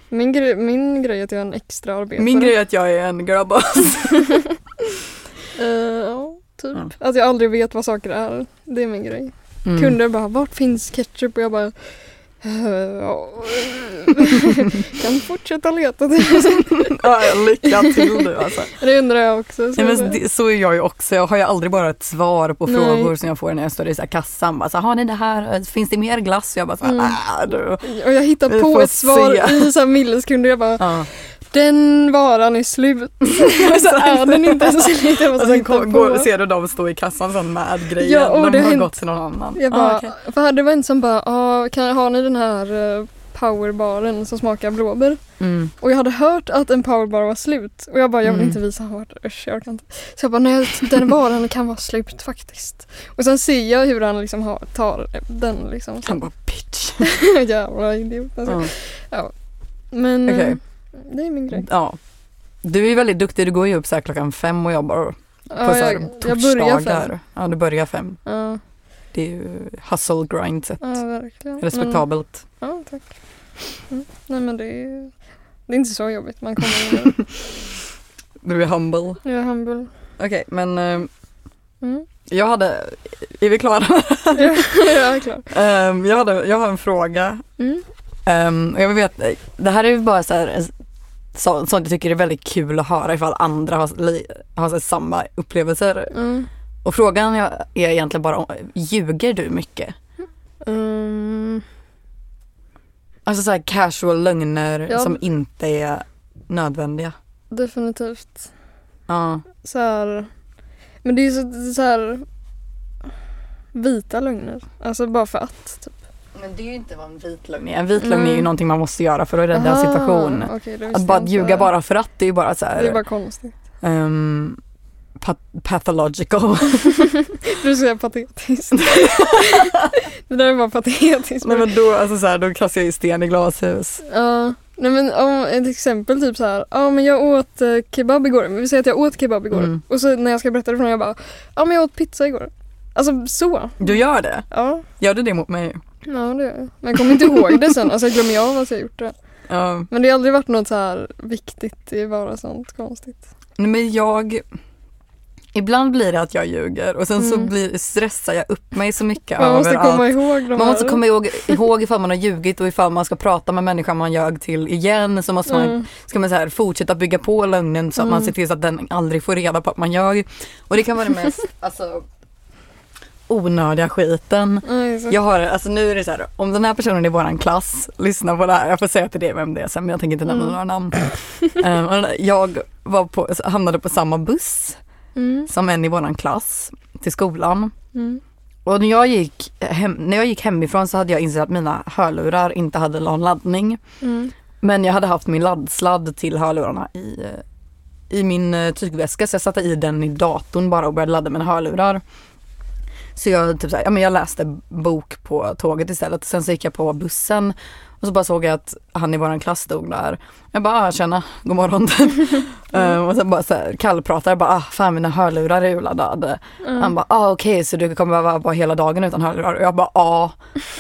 S2: min, gre- min grej är att jag är en extra arbetare.
S1: Min grej är att jag är en girlboss.
S2: Eh, ja, typ.
S1: Ja.
S2: Att jag aldrig vet vad saker är. Det är min grej.
S1: Mm.
S2: Kunder bara, vart finns ketchup? Och jag bara, "Eh, ja." kan fortsätta leta.
S1: Ja, lycka till nu alltså.
S2: det undrar jag också. Så
S1: Nej,
S2: jag
S1: men det, så är jag ju också. Jag har ju aldrig bara ett svar på
S2: Nej.
S1: frågor som jag får när jag står i så här kassan. Bara så här, har ni det här? Finns det mer glass? Och jag bara så här,
S2: Mm.
S1: "Ah, du.
S2: bara- och jag hittar
S1: Vi
S2: på
S1: får
S2: ett svar
S1: se.
S2: i så här millisekunder. Jag bara,
S1: Ja.
S2: den varan är slut. så är den inte så slut. Jag
S1: Och
S2: måste
S1: sen
S2: hitta
S1: kom, går,
S2: på.
S1: ser du dem stå i kassan sen med grejen.
S2: Ja, och
S1: De
S2: det
S1: har
S2: har hänt.
S1: gått till någon annan.
S2: Jag
S1: Ah,
S2: bara,
S1: okej.
S2: för det var en som bara, ah, kan, har ni den här eh, powerbaren som smakar blåbär?
S1: mm.
S2: Och jag hade hört att en powerbar var slut och jag bara jag vill
S1: Mm.
S2: inte visa hårt, usch jag orkar inte. Så jag bara nej den varan kan vara slut faktiskt. Och sen ser jag hur han liksom har, tar den liksom.
S1: Han bara bitch.
S2: Jävla idiot alltså.
S1: Ja.
S2: Men
S1: Okej.
S2: eh, det är min grej.
S1: Ja. Du är ju väldigt duktig, du går ju upp så här klockan fem och jobbar på
S2: Ja,
S1: så här torsdagar. Ja, du börjar fem.
S2: Ja,
S1: Det är ju hustle grind sätt.
S2: ja verkligen.
S1: Respektabelt.
S2: Men, ja tack. Mm. Nej men det är, det är inte så jobbigt man kommer vidare.
S1: Du är humble.
S2: Jag är humble.
S1: Okej, men eh,
S2: Mm.
S1: jag hade, är vi klara?
S2: Ja, jag är klar.
S1: Ehm, jag, hade, jag har en fråga.
S2: Mm.
S1: Ehm, och jag vill veta, det här är ju bara så här, en s- så, sånt jag tycker är väldigt kul att höra ifall andra har, li, har så här, samma upplevelser.
S2: Mm.
S1: Och frågan jag, är egentligen bara, om, ljuger du mycket?
S2: Mm.
S1: Alltså så här casual lögner
S2: Ja.
S1: som inte är nödvändiga.
S2: Definitivt.
S1: Ja,
S2: så här, Men det är ju så, det är så här vita lögner. Alltså bara för att. Typ.
S1: Men det är ju inte vad en vit lögn är. En vit lögn är ju
S2: Mm.
S1: någonting man måste göra för att rädda en situation.
S2: Aha, okej, det visste
S1: Att bara
S2: jag inte.
S1: ljuga bara för att det är ju bara så här,
S2: Det är bara konstigt.
S1: ehm, pa- pathological.
S2: Du säger patetiskt. det där är bara patetiskt.
S1: Nej men då, alltså så här, då kastar jag ju sten i glashus.
S2: Ja, nej men om ett exempel typ så här. Ja men jag åt eh, kebab igår. Men vi säger att jag åt kebab igår.
S1: Mm.
S2: Och så när jag ska berätta det för någon jag bara. Ja men jag åt pizza igår. Alltså så.
S1: Du gör det?
S2: Ja,
S1: Gör du det mot mig?
S2: ja det gör jag. Men jag kommer inte ihåg det sen. Alltså jag glömmer ju av att jag gjort det.
S1: Ja.
S2: Men det har aldrig varit något så här viktigt, det är bara sånt konstigt.
S1: Nej men jag... Ibland blir det att jag ljuger och sen så
S2: Mm.
S1: blir, stressar jag upp mig så mycket
S2: Man måste
S1: över
S2: komma
S1: att
S2: ihåg de
S1: man måste
S2: här.
S1: komma ihåg, ihåg ifall man har ljugit och ifall man ska prata med människan man ljög till igen så måste man,
S2: Mm.
S1: ska man så här, fortsätta bygga på lögnen så att man
S2: Mm.
S1: ser till så att den aldrig får reda på att man ljög. Och det kan vara det mest alltså, onödiga skiten.
S2: Nej, så.
S1: Jag har, alltså nu är det så här, om den här personen i våran klass lyssnar på det här, jag får säga till dig vem det är sen men jag tänker inte nämna
S2: Mm.
S1: några namn. Ehm, och den där- jag var på, hamnade på samma buss
S2: Mm.
S1: som en i våran klass till skolan.
S2: Mm.
S1: Och när jag gick, hem, när jag gick hemifrån så hade jag insett att mina hörlurar inte hade någon laddning.
S2: Mm.
S1: Men jag hade haft min laddsladd till hörlurarna i, i min eh, tygväska så jag satte i den i datorn bara och började ladda mina hörlurar. Så jag, typ så här, ja, men jag läste bok på tåget istället. Sen så gick jag på bussen och så bara såg jag att han i våran klass stod där. Jag bara, ah, tjena, god morgon. Eh, och sen bara så här, kallpratade, jag bara, ah, fan mina hörlurar är urladdade.
S2: Mm.
S1: Han bara, ah, okej så du kommer behöva vara hela dagen utan hörlurar? Och jag bara, ja.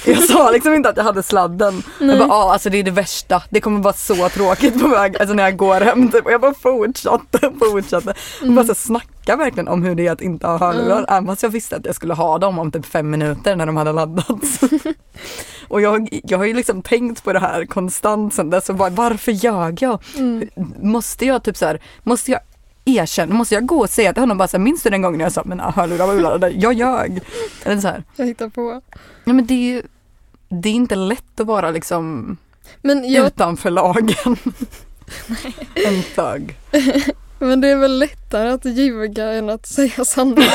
S1: Jag sa liksom inte att jag hade sladden. Jag bara, ja alltså det är det värsta. Det kommer vara så tråkigt på väg, alltså när jag går hem typ. Och jag bara fortsatte, fortsatte. Och bara så snacka verkligen om hur det är att inte ha hörlurar. Även fast jag visste att jag skulle ha dem om typ fem minuter när de hade laddats. och jag, jag har ju liksom tänkt på det här konstant sen dess. Och bara, varför ljög jag?
S2: Mm.
S1: Måste jag typ så här, måste jag erkänna, måste jag gå och säga till honom bara så här, minns du den gången jag sa att mina hörlurar var urladdade? Jag ljög. Eller så här.
S2: Jag hittar på.
S1: Ja men det är ju, det är inte lätt att vara liksom
S2: Men jag,
S1: utanför lagen. en thug.
S2: Men det är väl lättare att ljuga än att säga sanningen.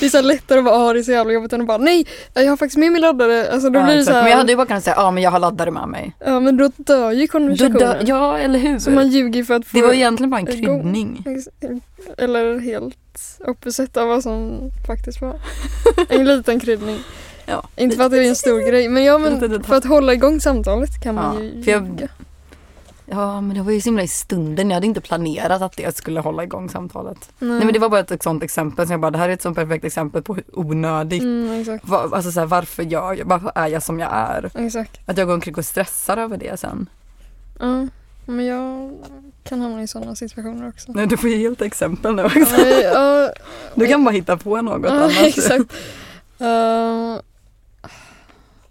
S2: det är så här lättare att bara ah, det är så jävla jobbigt än att bara nej jag har faktiskt med min laddare. Alltså då
S1: Ja,
S2: blir det
S1: exakt.
S2: så här,
S1: Men jag hade ju bara kunnat säga, ja men jag har laddare med mig.
S2: ja men då dör ju
S1: Då
S2: konversationen.
S1: dö- ja, eller hur?
S2: Så man ljuger för att få
S1: Det var egentligen bara en
S2: Igång.
S1: kryddning.
S2: Eller helt opposite av vad som faktiskt var. En liten kryddning.
S1: Ja.
S2: Inte för att det är en stor grej men ja
S1: Lite
S2: men
S1: detalj.
S2: för att hålla igång samtalet kan man
S1: Ja,
S2: ju
S1: för jag-
S2: ljuga.
S1: Ja, men det var ju så himla i stunden. Jag hade inte planerat att det skulle hålla igång samtalet.
S2: Nej.
S1: Nej, men det var bara ett sånt exempel som jag bara, det här är ett sånt perfekt exempel på hur onödigt.
S2: Mm, exakt.
S1: Va, alltså så här, varför, jag, varför är jag som jag är?
S2: Exakt.
S1: Att jag går omkring och stressar över det sen.
S2: Ja. Men jag kan hamna i sådana situationer också.
S1: Nej, du får ju helt exempel nu också.
S2: Nej, ja,
S1: Du kan bara hitta på något
S2: ja,
S1: annat.
S2: exakt. Eh,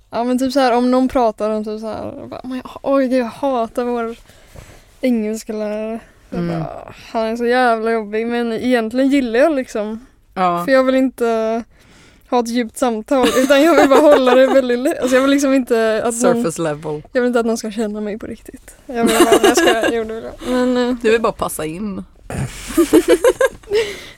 S2: ja men typ så här om någon pratar om typ så här, jag bara, "Men jag- oj gud, jag hatar vår engelsklärare. Jag
S1: Mm.
S2: bara, han är så jävla jobbig men egentligen gillar jag liksom.
S1: Ja.
S2: För jag vill inte ha ett djupt samtal utan jag vill bara hålla det väldigt lätt. Alltså jag vill liksom inte att någon,
S1: Surface level.
S2: jag vill inte att någon ska känna mig på riktigt. Jag vill bara, jag ska, jo, det vill jag. Men eh,
S1: Du vill bara passa in.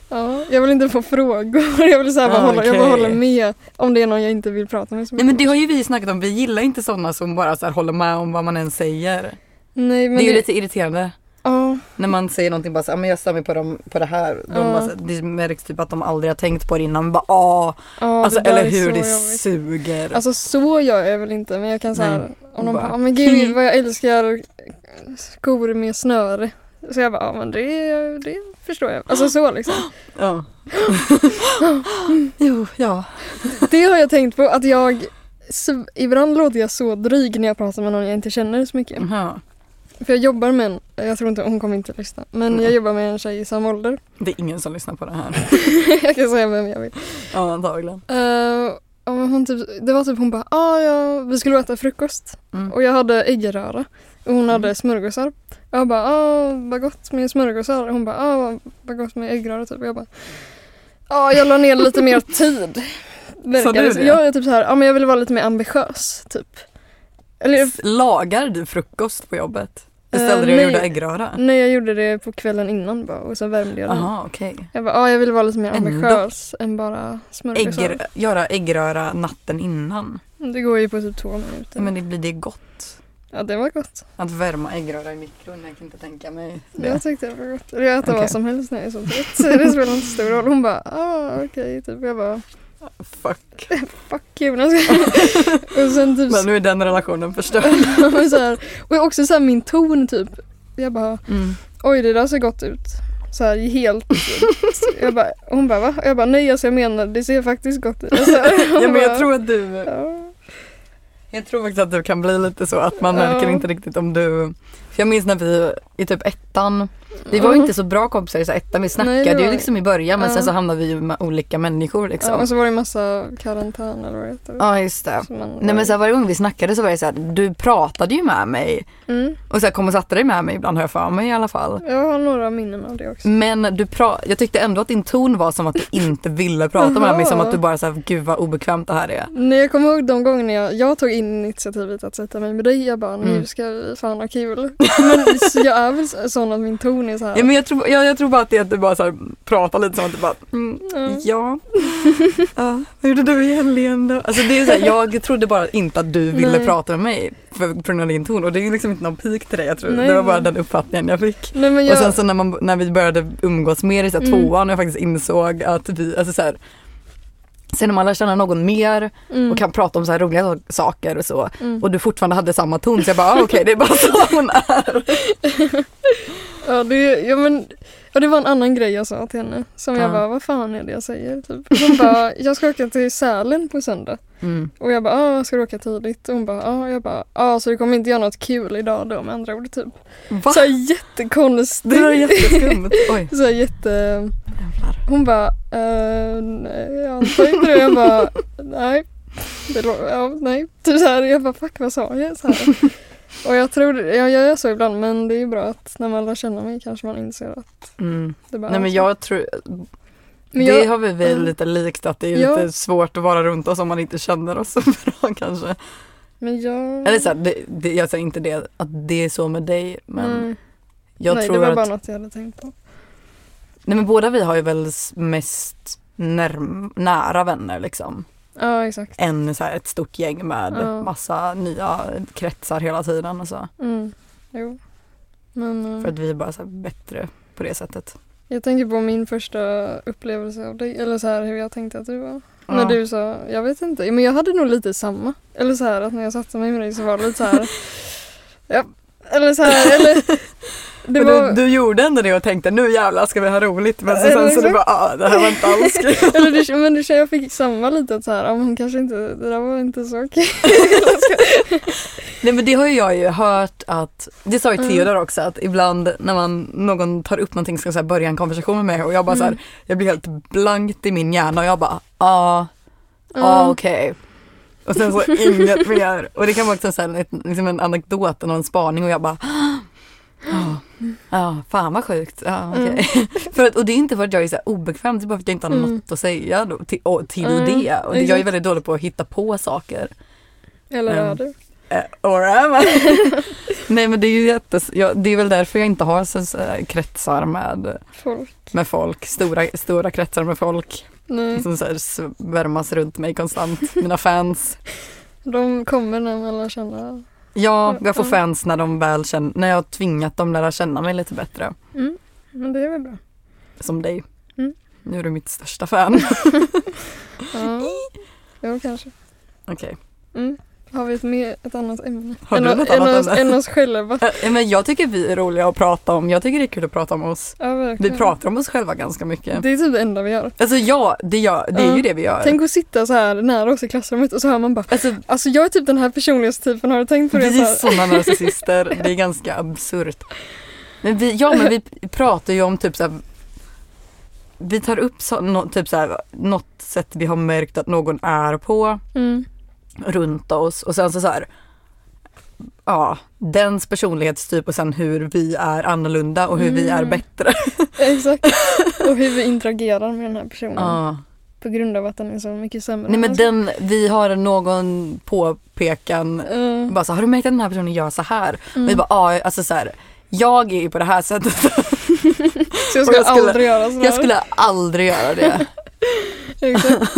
S2: Ja, jag vill inte få frågor. Jag vill så här bara
S1: Ah,
S2: hålla, jag bara
S1: okej.
S2: håller med om det är någon jag inte vill prata med. Så
S1: Nej men det
S2: mycket.
S1: har ju vi snackat om, vi gillar inte sådana som bara så här, håller med om vad man än säger.
S2: Nej, men
S1: det är ju
S2: det-
S1: lite irriterande.
S2: Ja,
S1: När man säger någonting bara så, här, "Ah, men jag stör mig på, dem, på det här. De
S2: Ja.
S1: bara, så här- det märks typ att de aldrig har tänkt på det innan. Men bara, ah,
S2: ja,
S1: alltså,
S2: det där
S1: eller
S2: är
S1: hur,
S2: så
S1: det
S2: jobbigt.
S1: suger.
S2: Alltså så gör jag väl inte men jag kan
S1: Nej.
S2: såhär, om någon
S1: Mm. Bara,
S2: bara, "Ah, men
S1: "Hi."
S2: gud vad jag älskar skor med snöre. Så jag bara, ja men det, det förstår jag. Alltså så liksom.
S1: ja. jo, ja.
S2: Det har jag tänkt på att jag, sv- ibland låter jag så dryg när jag pratar med någon jag inte känner så mycket.
S1: ja.
S2: För jag jobbar med en, jag tror inte, hon kommer inte lyssna, men
S1: Mm.
S2: jag jobbar med en tjej i samma ålder.
S1: Det är ingen som lyssnar på det här.
S2: jag kan säga vem jag vill.
S1: Ja, antagligen.
S2: Eh, ja, men hon typ, det var typ hon bara, ah, ja, vi skulle äta frukost
S1: Mm.
S2: och jag hade äggröra och hon
S1: Mm.
S2: hade smörgåsar. Och jag bara, ah, vad gott med smörgåsar. Och hon bara, ah, vad- vad gott med äggröra typ. Och jag bara, ah, jag la ner lite mer tid.
S1: Sa
S2: Verkar
S1: du
S2: det som.
S1: det?
S2: Jag är typ så här, ja ah, men jag vill vara lite mer ambitiös typ. Eller
S1: Lagar du frukost på jobbet? Istället
S2: Eh,
S1: för att
S2: nej.
S1: gjorde äggröra?
S2: nej, jag gjorde det på kvällen innan bara och sen värmde jag den.
S1: Jaha, okej.
S2: Jag bara, ah, jag vill vara lite mer
S1: Ändå.
S2: ambitiös än bara smörgåsar.
S1: Äggrö- göra äggröra natten innan.
S2: Det går ju på typ två minuter.
S1: Men det blir det gott?
S2: Ja, det var gott.
S1: Att värma äggröra i mikron, jag kan inte tänka mig det.
S2: Jag tyckte det var gott. Eller jag äter
S1: Okej.
S2: vad som helst när jag är så trött. Så det spelar inte stor roll. Hon bara ah okej typ. Jag bara
S1: Fuck.
S2: fuck you. Men jag ska- och sen typ
S1: Men nu är den relationen förstörd.
S2: så här, och också så här min ton typ. Jag bara oj det där ser gott ut. Så här helt. typ. jag bara, hon bara va? Jag bara nej alltså jag menar det ser faktiskt gott ut. Alltså,
S1: Ja,
S2: hon
S1: men jag
S2: bara,
S1: tror att du...
S2: "Ja."
S1: Jag tror faktiskt att du kan bli lite så att man märker
S2: Ja.
S1: inte riktigt om du... För jag minns när vi i typ ettan, vi var ju inte så bra kompisar i så ettan, vi
S2: Mm.
S1: snackade
S2: Nej, det var
S1: ju
S2: vi.
S1: liksom i början men
S2: Ja.
S1: sen så hamnade vi ju med olika människor liksom.
S2: ja,
S1: Ja,
S2: och så var det en massa karantän eller vad det heter.
S1: just det.
S2: Så man-
S1: Nej men så här, varje gång vi snackade så var det så här, du pratade ju med mig
S2: mm,
S1: och så här, kom och satte dig med mig ibland har jag för mig i alla fall.
S2: jag har några minnen av det också.
S1: Men du pra- jag tyckte ändå att din ton var som att du inte ville prata med mig, som
S2: Jaha.
S1: att du bara såhär, gud vad obekvämt det här är.
S2: Nej, jag kommer ihåg de gångerna jag, jag tog in initiativet att sätta mig med dig. Jag bara,
S1: Mm.
S2: nu ska vi fan ha kul. Men så jag är väl så- sån att min ton är så här.
S1: Ja, men jag, tror, jag, jag tror bara att det är att du bara så här, pratar lite som att du bara, mm,
S2: Mm.
S1: ja. ja, vad gjorde du i helgen då? Alltså det är så här, jag trodde bara inte att du ville
S2: Nej.
S1: prata med mig för, på grund av din ton och det är liksom inte någon pik till dig jag tror.
S2: Nej.
S1: Det var bara den uppfattningen jag fick.
S2: Nej, men
S1: Och
S2: jag,
S1: sen så när, man, när vi började umgås mer i så här,
S2: Mm.
S1: tvåan och jag faktiskt insåg att vi, alltså så här, sen när man lär känna någon mer
S2: mm,
S1: och kan prata om så här roliga so- saker och så
S2: mm.
S1: och du fortfarande hade samma ton så jag bara ah, okej det är bara så hon är.
S2: ja, det, ja, men, ja, det var en annan grej jag sa till henne. Som
S1: Ja.
S2: jag bara, vad fan är det jag säger? Typ. Hon bara, jag ska åka till Sälen på söndag.
S1: Mm.
S2: Och jag bara, ah, ska du åka tidigt? Och hon bara, ah, jag bara, ah, så du kommer inte göra något kul idag då med andra ord typ.
S1: Va?
S2: Så här jättekonstigt.
S1: Det var jätteskumt. Mm. Oj.
S2: Så här jätte...
S1: Jävlar.
S2: Hon bara, eh, nej jag antar inte det. Jag bara, nej. Det lå- ja, nej. Typ så här, jag bara fuck vad sa jag? Så här. Och jag tror, jag gör så ibland men det är ju bra att när man lär känna mig kanske man inser att
S1: Mm.
S2: det bara
S1: Nej
S2: är
S1: men
S2: så.
S1: jag tror, det
S2: Men jag-
S1: har vi väl
S2: Mm.
S1: lite likt att det är
S2: Ja.
S1: lite svårt att vara runt oss om man inte känner oss så bra kanske.
S2: Men jag...
S1: Mm. Eller så här, Mm. det, det, jag säger inte det, att det är så med dig men
S2: Nej.
S1: Jag
S2: Mm. Nej,
S1: tror
S2: det var
S1: att,
S2: bara något jag hade tänkt på.
S1: nej men båda vi har ju väl s- mest närm, nära vänner liksom.
S2: Ja, exakt.
S1: Än så här ett stort gäng med
S2: Ja.
S1: massa nya kretsar hela tiden och så.
S2: Mm. Jo. Men eh,
S1: För att vi är bara så här bättre på det sättet.
S2: jag tänker på min första upplevelse av dig, eller så här hur jag tänkte att du var.
S1: Ja.
S2: När du sa, jag vet inte, men jag hade nog lite samma. Eller så här att när jag satte mig med dig så var det lite så här. ja, eller så här, eller. Det
S1: Men
S2: var,
S1: du, du gjorde ändå det och tänkte nu jävlar ska vi ha roligt men så,
S2: Eller
S1: sen så
S2: hur?
S1: du bara ah, det här var inte alls kul.
S2: eller det, men det, jag fick samma lite att så här, ja, men hon kanske inte, det där var inte så okej.
S1: Nej men det har ju jag ju hört att, det sa ju
S2: Mm.
S1: Theodor också att ibland när man, någon tar upp någonting ska så här börja en konversation med mig och jag bara så
S2: Mm.
S1: här, jag blir helt blankt i min hjärna och jag bara ja, ah, ah,
S2: Ja.
S1: okej. Och sen så inget mer. Och det kan vara också så här, ett- liksom en anekdot eller en spaning och jag bara ah, ah, ah, fan vad sjukt. Ah, okej. för att, och det är inte för att jag är så här obekväm, det är bara för att jag inte har
S2: Mm.
S1: något att säga då, till, och, till
S2: Mm,
S1: det. Och det, jag är
S2: exakt.
S1: väldigt dålig på att hitta på saker.
S2: Eller
S1: Mm.
S2: är du?
S1: Eh, Or am I? Nej men det är ju jättes... Jag, det är väl därför jag inte har så, så, här kretsar med,
S2: Folk.
S1: med folk. Stora, stora kretsar med folk
S2: Nej,
S1: som så här, svärmas runt mig konstant. Mina fans.
S2: de kommer när man lär känna.
S1: Ja, jag får
S2: Ja.
S1: fans när de väl känner... När jag har tvingat dem lära känna mig lite bättre.
S2: Mm. Men det är väl bra.
S1: Som dig.
S2: Mm.
S1: Nu är du mitt största fan.
S2: Ja, jo kanske.
S1: Okej.
S2: Mm. Har vi ett, mer, ett annat ämne?
S1: Har
S2: än
S1: du
S2: o-
S1: något
S2: än
S1: annat
S2: oss,
S1: ämne?
S2: än oss själva.
S1: Eh, Men jag tycker vi är roliga att prata om. Jag tycker det är kul att prata om oss.
S2: Ja,
S1: Vi
S2: verkligen.
S1: pratar om oss själva ganska mycket.
S2: Mm. Det är typ det enda vi gör.
S1: Alltså ja, det, gör, det är
S2: Ja.
S1: ju det vi gör.
S2: Tänk att sitta så här nära oss i klassrummet och så hör man bara
S1: Alltså,
S2: Alltså jag är typ den här personlighetstypen, har du tänkt på det?
S1: Vi
S2: Så
S1: är
S2: här,
S1: sådana narcissister, det är ganska absurt. Men vi, ja men vi pratar ju om typ såhär, vi tar upp så, nå- typ såhär, något sätt vi har märkt att någon är på
S2: Mm.
S1: runt oss och sen så såhär, ja, dens personlighetstyp och sen hur vi är annorlunda och hur vi är
S2: Mm.
S1: bättre.
S2: Exakt. Och hur vi interagerar med den här personen
S1: Ja.
S2: på grund av att den är så mycket sämre.
S1: Nej men
S2: Alltså,
S1: den, vi har någon påpekan,
S2: eh,
S1: bara så har du märkt att den här personen gör så här?
S2: mm.
S1: Vi bara, ja alltså såhär, jag är ju på det här sättet
S2: så
S1: och
S2: jag skulle,
S1: jag skulle-
S2: aldrig göra sådär.
S1: Jag skulle aldrig göra det.
S2: Exakt.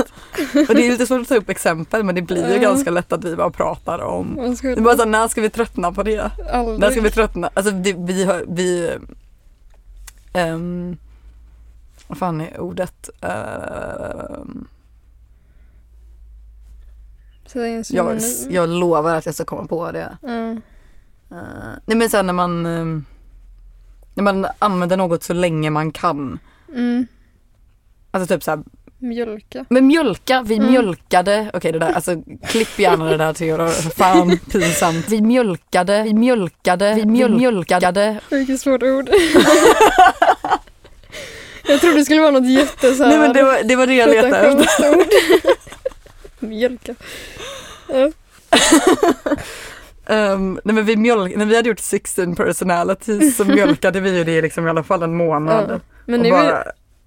S1: Och det är lite svårt att ta upp exempel men det blir ju
S2: Ja.
S1: ganska lätt att vi bara pratar om.
S2: Man
S1: Det
S2: skulle
S1: är bara så, här, när ska vi tröttna på det?
S2: aldrig.
S1: När ska vi tröttna? Alltså det, vi har, vi... ehm, vad fan är ordet? Eh, Ehm,
S2: Så det är en
S1: jag,
S2: synonym.
S1: jag lovar att jag ska komma på det.
S2: Mm.
S1: Eh, nej men sen när man... ehm, när man använder något så länge man kan.
S2: Mm.
S1: Alltså typ såhär,
S2: Mjölka.
S1: men mjölka, vi
S2: Mm.
S1: mjölkade, okej det där, alltså klipp gärna det där Theodor, fan pinsamt. Vi mjölkade, vi mjölkade, vi mjöl- mjölkade.
S2: Vilket svårt ord. jag trodde det skulle vara något jätte så här,
S1: Nej men det var det, var det jag letade efter.
S2: pretentiöst ord. Mjölka. Ja.
S1: Ehm, nej men vi mjölk, när vi hade gjort 16 personalities så mjölkade vi ju det liksom i alla fall en månad.
S2: Ja. Men
S1: Och
S2: nu är,
S1: bara,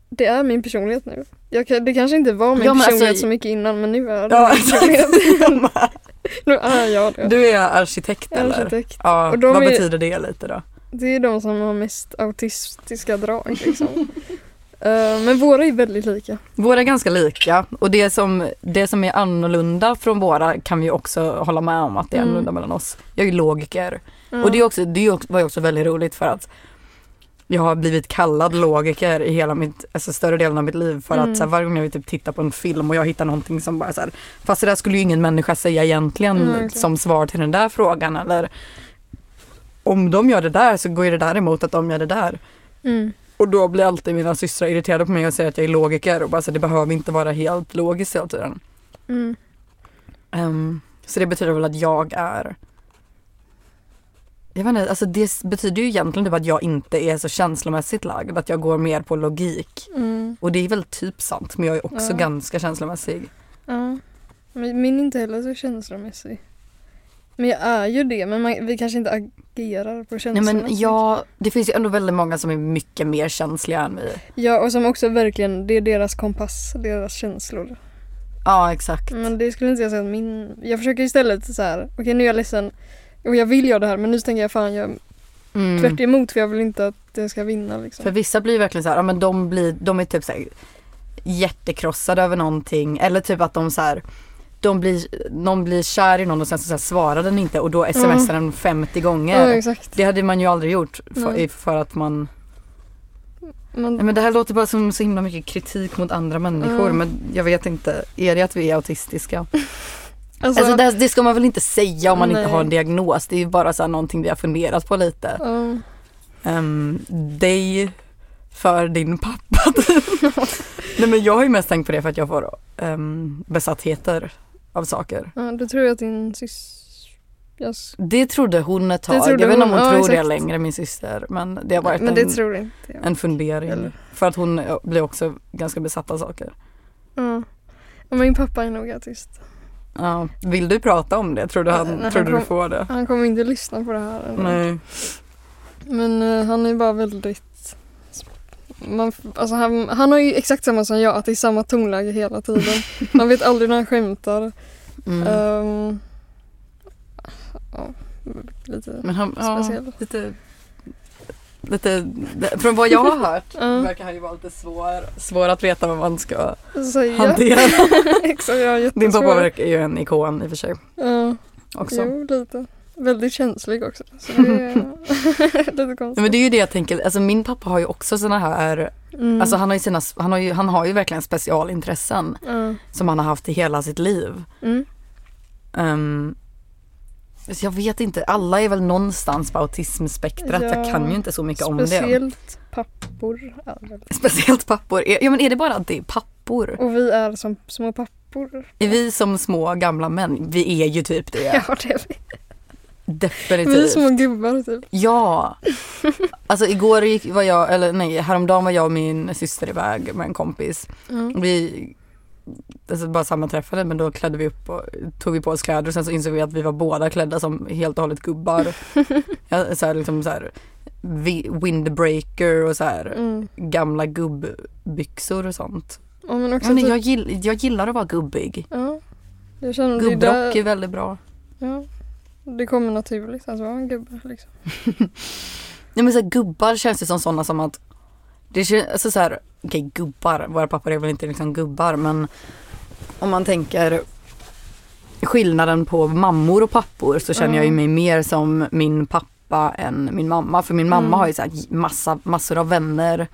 S2: Det är min personlighet nu. Jag, kan- det kanske inte var min
S1: Ja, men alltså-
S2: personlighet så mycket innan men nu är det
S1: ja,
S2: min personlighet. nu är jag det.
S1: du är arkitekt
S2: Jag är
S1: eller?
S2: arkitekt.
S1: Ja,
S2: Och de
S1: vad
S2: är-
S1: betyder det lite då?
S2: Det är de som har mest autistiska drag liksom. Eh, men våra är väldigt lika.
S1: Våra är ganska lika och det som, det som är annorlunda från våra kan vi också hålla med om att det är
S2: Mm.
S1: annorlunda mellan oss. Jag är ju logiker
S2: Ja.
S1: och det, är också, det är också, var ju också väldigt roligt för att jag har blivit kallad logiker i hela mitt, alltså större delen av mitt liv för
S2: Mm.
S1: att så här, varje gång jag vill typ titta på en film och jag hittar någonting som bara så här, fast det där skulle ju ingen människa säga egentligen
S2: Mm, exakt.
S1: som svar till den där frågan eller om de gör det där så går ju det där emot att de gör det där.
S2: mm.
S1: Och då blir alltid mina systrar irriterade på mig och säger att jag är logiker och bara så här, det behöver inte vara helt logiskt hela tiden.
S2: Mm.
S1: Ehm, så det betyder väl att jag är jag vet inte, alltså det s- betyder ju egentligen typ att jag inte är så känslomässigt lagd, att jag går mer på logik.
S2: Mm.
S1: Och det är väl typ sant, men jag är också
S2: Ja.
S1: ganska känslomässig.
S2: Ja. Men Min är inte heller så känslomässig. Men jag är ju det men man, vi kanske inte agerar på
S1: Nej
S2: känslomässigt.
S1: men jag, det finns ju ändå väldigt många som är mycket mer känsliga än vi.
S2: Ja och som också verkligen, det är deras kompass, deras känslor.
S1: Ja exakt.
S2: Men det skulle inte jag säga att min... Jag försöker istället så här. okej nu är jag ledsen och jag vill göra det här men nu tänker jag fan jag
S1: Mm.
S2: Tvärt emot för jag vill inte att den ska vinna liksom.
S1: För vissa blir verkligen så här, ja men de blir, de är typ så här hjärtekrossade över någonting eller typ att de så här de blir, de blir kär i någon och sen så, så här svarar den inte och då smsar
S2: Mm.
S1: den 50
S2: Ja,
S1: gånger.
S2: exakt.
S1: Det hade man ju aldrig gjort för,
S2: Nej.
S1: i- för att man...
S2: Man,
S1: Nej, men det här låter bara som så himla mycket kritik mot andra människor
S2: Mm.
S1: men jag vet inte, är det att vi är autistiska?
S2: alltså,
S1: Alltså det, det ska man väl inte säga om man
S2: Nej.
S1: inte har en diagnos, det är ju bara så här någonting vi har funderat på lite.
S2: ja.
S1: um, dig för din pappa. typ. Nej men jag har ju mest tänkt på det för att jag får ehm, besattheter av saker.
S2: Ja, då tror jag att din syster... Jag sk-
S1: Det trodde hon ett tag.
S2: Det trodde
S1: jag vet inte om hon
S2: hon, ja,
S1: tror det
S2: exakt.
S1: längre min syster. Men det har varit
S2: Men det
S1: en,
S2: tror inte jag.
S1: en fundering.
S2: Eller?
S1: För att hon eh, blir också ganska besatt av saker.
S2: Ja. Ja, Min pappa är nog autist.
S1: Ja, vill du prata om det? Tror du, han,
S2: Eh, Nej, han
S1: tror du, du
S2: kom-
S1: får det?
S2: Han kommer inte lyssna på det här. ändå.
S1: Nej.
S2: Men eh, han är bara väldigt... Man, f- alltså han, han har ju exakt samma som jag, att det är samma tonläge hela tiden. Man vet aldrig när han skämtar.
S1: Mm.
S2: Ehm, ja, lite
S1: men han, ja,
S2: speciell.
S1: lite, lite, från vad jag har hört
S2: Ja,
S1: verkar han ju vara lite svår, svår att veta vad man ska
S2: säga.
S1: hantera.
S2: Exakt, jag Mm. har
S1: Din
S2: jättesvårt.
S1: pappa verkar ju en ikon i och för sig
S2: Ja,
S1: också.
S2: jo lite. Väldigt känslig också. Så det är lite
S1: Nej,
S2: konstigt.
S1: men det är ju det jag tänker, alltså min pappa har ju också såna här,
S2: Mm.
S1: alltså han har ju sina, han har ju, han har ju verkligen specialintressen
S2: Ja.
S1: som han har haft i hela sitt liv.
S2: Mm.
S1: Ehm, så jag vet inte, alla är väl någonstans på autismspektrat, jag
S2: Ja,
S1: kan ju inte så mycket om det.
S2: Speciellt pappor. är väl-
S1: Speciellt pappor, är, ja men är det bara att det är pappor?
S2: Och vi är som små pappor.
S1: Är vi som små gamla män, vi är ju typ det,
S2: Ja, det är vi.
S1: definitivt.
S2: Vi är små gubbar typ.
S1: Ja! Alltså igår gick, var jag, eller nej, häromdagen var jag och min syster iväg med en kompis.
S2: Mm.
S1: Vi alltså bara sammanträffade men då klädde vi upp och tog vi på oss kläder och sen så insåg vi att vi var båda klädda som helt och hållet gubbar. Ja, så här, liksom så här, vi- windbreaker och så här
S2: Mm.
S1: gamla gubbbyxor och sånt.
S2: Ja, men också
S1: Ja, nej,
S2: typ,
S1: jag, gill, jag gillar att vara gubbig.
S2: ja. Jag känner det är
S1: Gubbrock är
S2: där,
S1: väldigt bra.
S2: ja. Det kommer naturligt att vara en gubbe liksom.
S1: Nej men så här, gubbar känns ju som sådana som att det känns alltså så här, okej gubbar, våra pappor är väl inte liksom gubbar men om man tänker skillnaden på mammor och pappor så känner
S2: Ja.
S1: jag ju mig mer som min pappa än min mamma för min mamma
S2: Mm.
S1: har ju så här massa, massor av vänner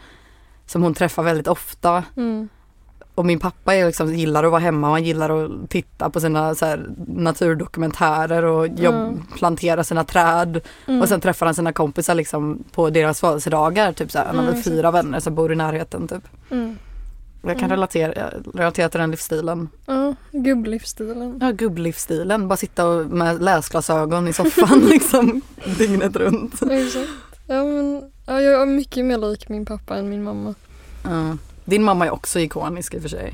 S1: som hon träffar väldigt ofta
S2: Mm.
S1: och min pappa är liksom, gillar att vara hemma och han gillar att titta på sina så här, naturdokumentärer och jobb,
S2: Mm.
S1: plantera sina träd
S2: Mm.
S1: och sen träffar han sina kompisar liksom på deras födelsedagar. Typ såhär, han har
S2: Mm,
S1: väl
S2: exakt.
S1: fyra vänner som bor i närheten. Typ.
S2: Mm.
S1: Jag kan
S2: Mm.
S1: relatera, eh, relatera till den livsstilen.
S2: Ja, gubblivsstilen.
S1: Ja, gubblivsstilen. Bara sitta och- med läsglasögon i soffan liksom dygnet runt.
S2: Exakt. Ja, men, ja, jag är mycket mer lik min pappa än min mamma.
S1: Ja. Din mamma är också ikonisk i och för sig.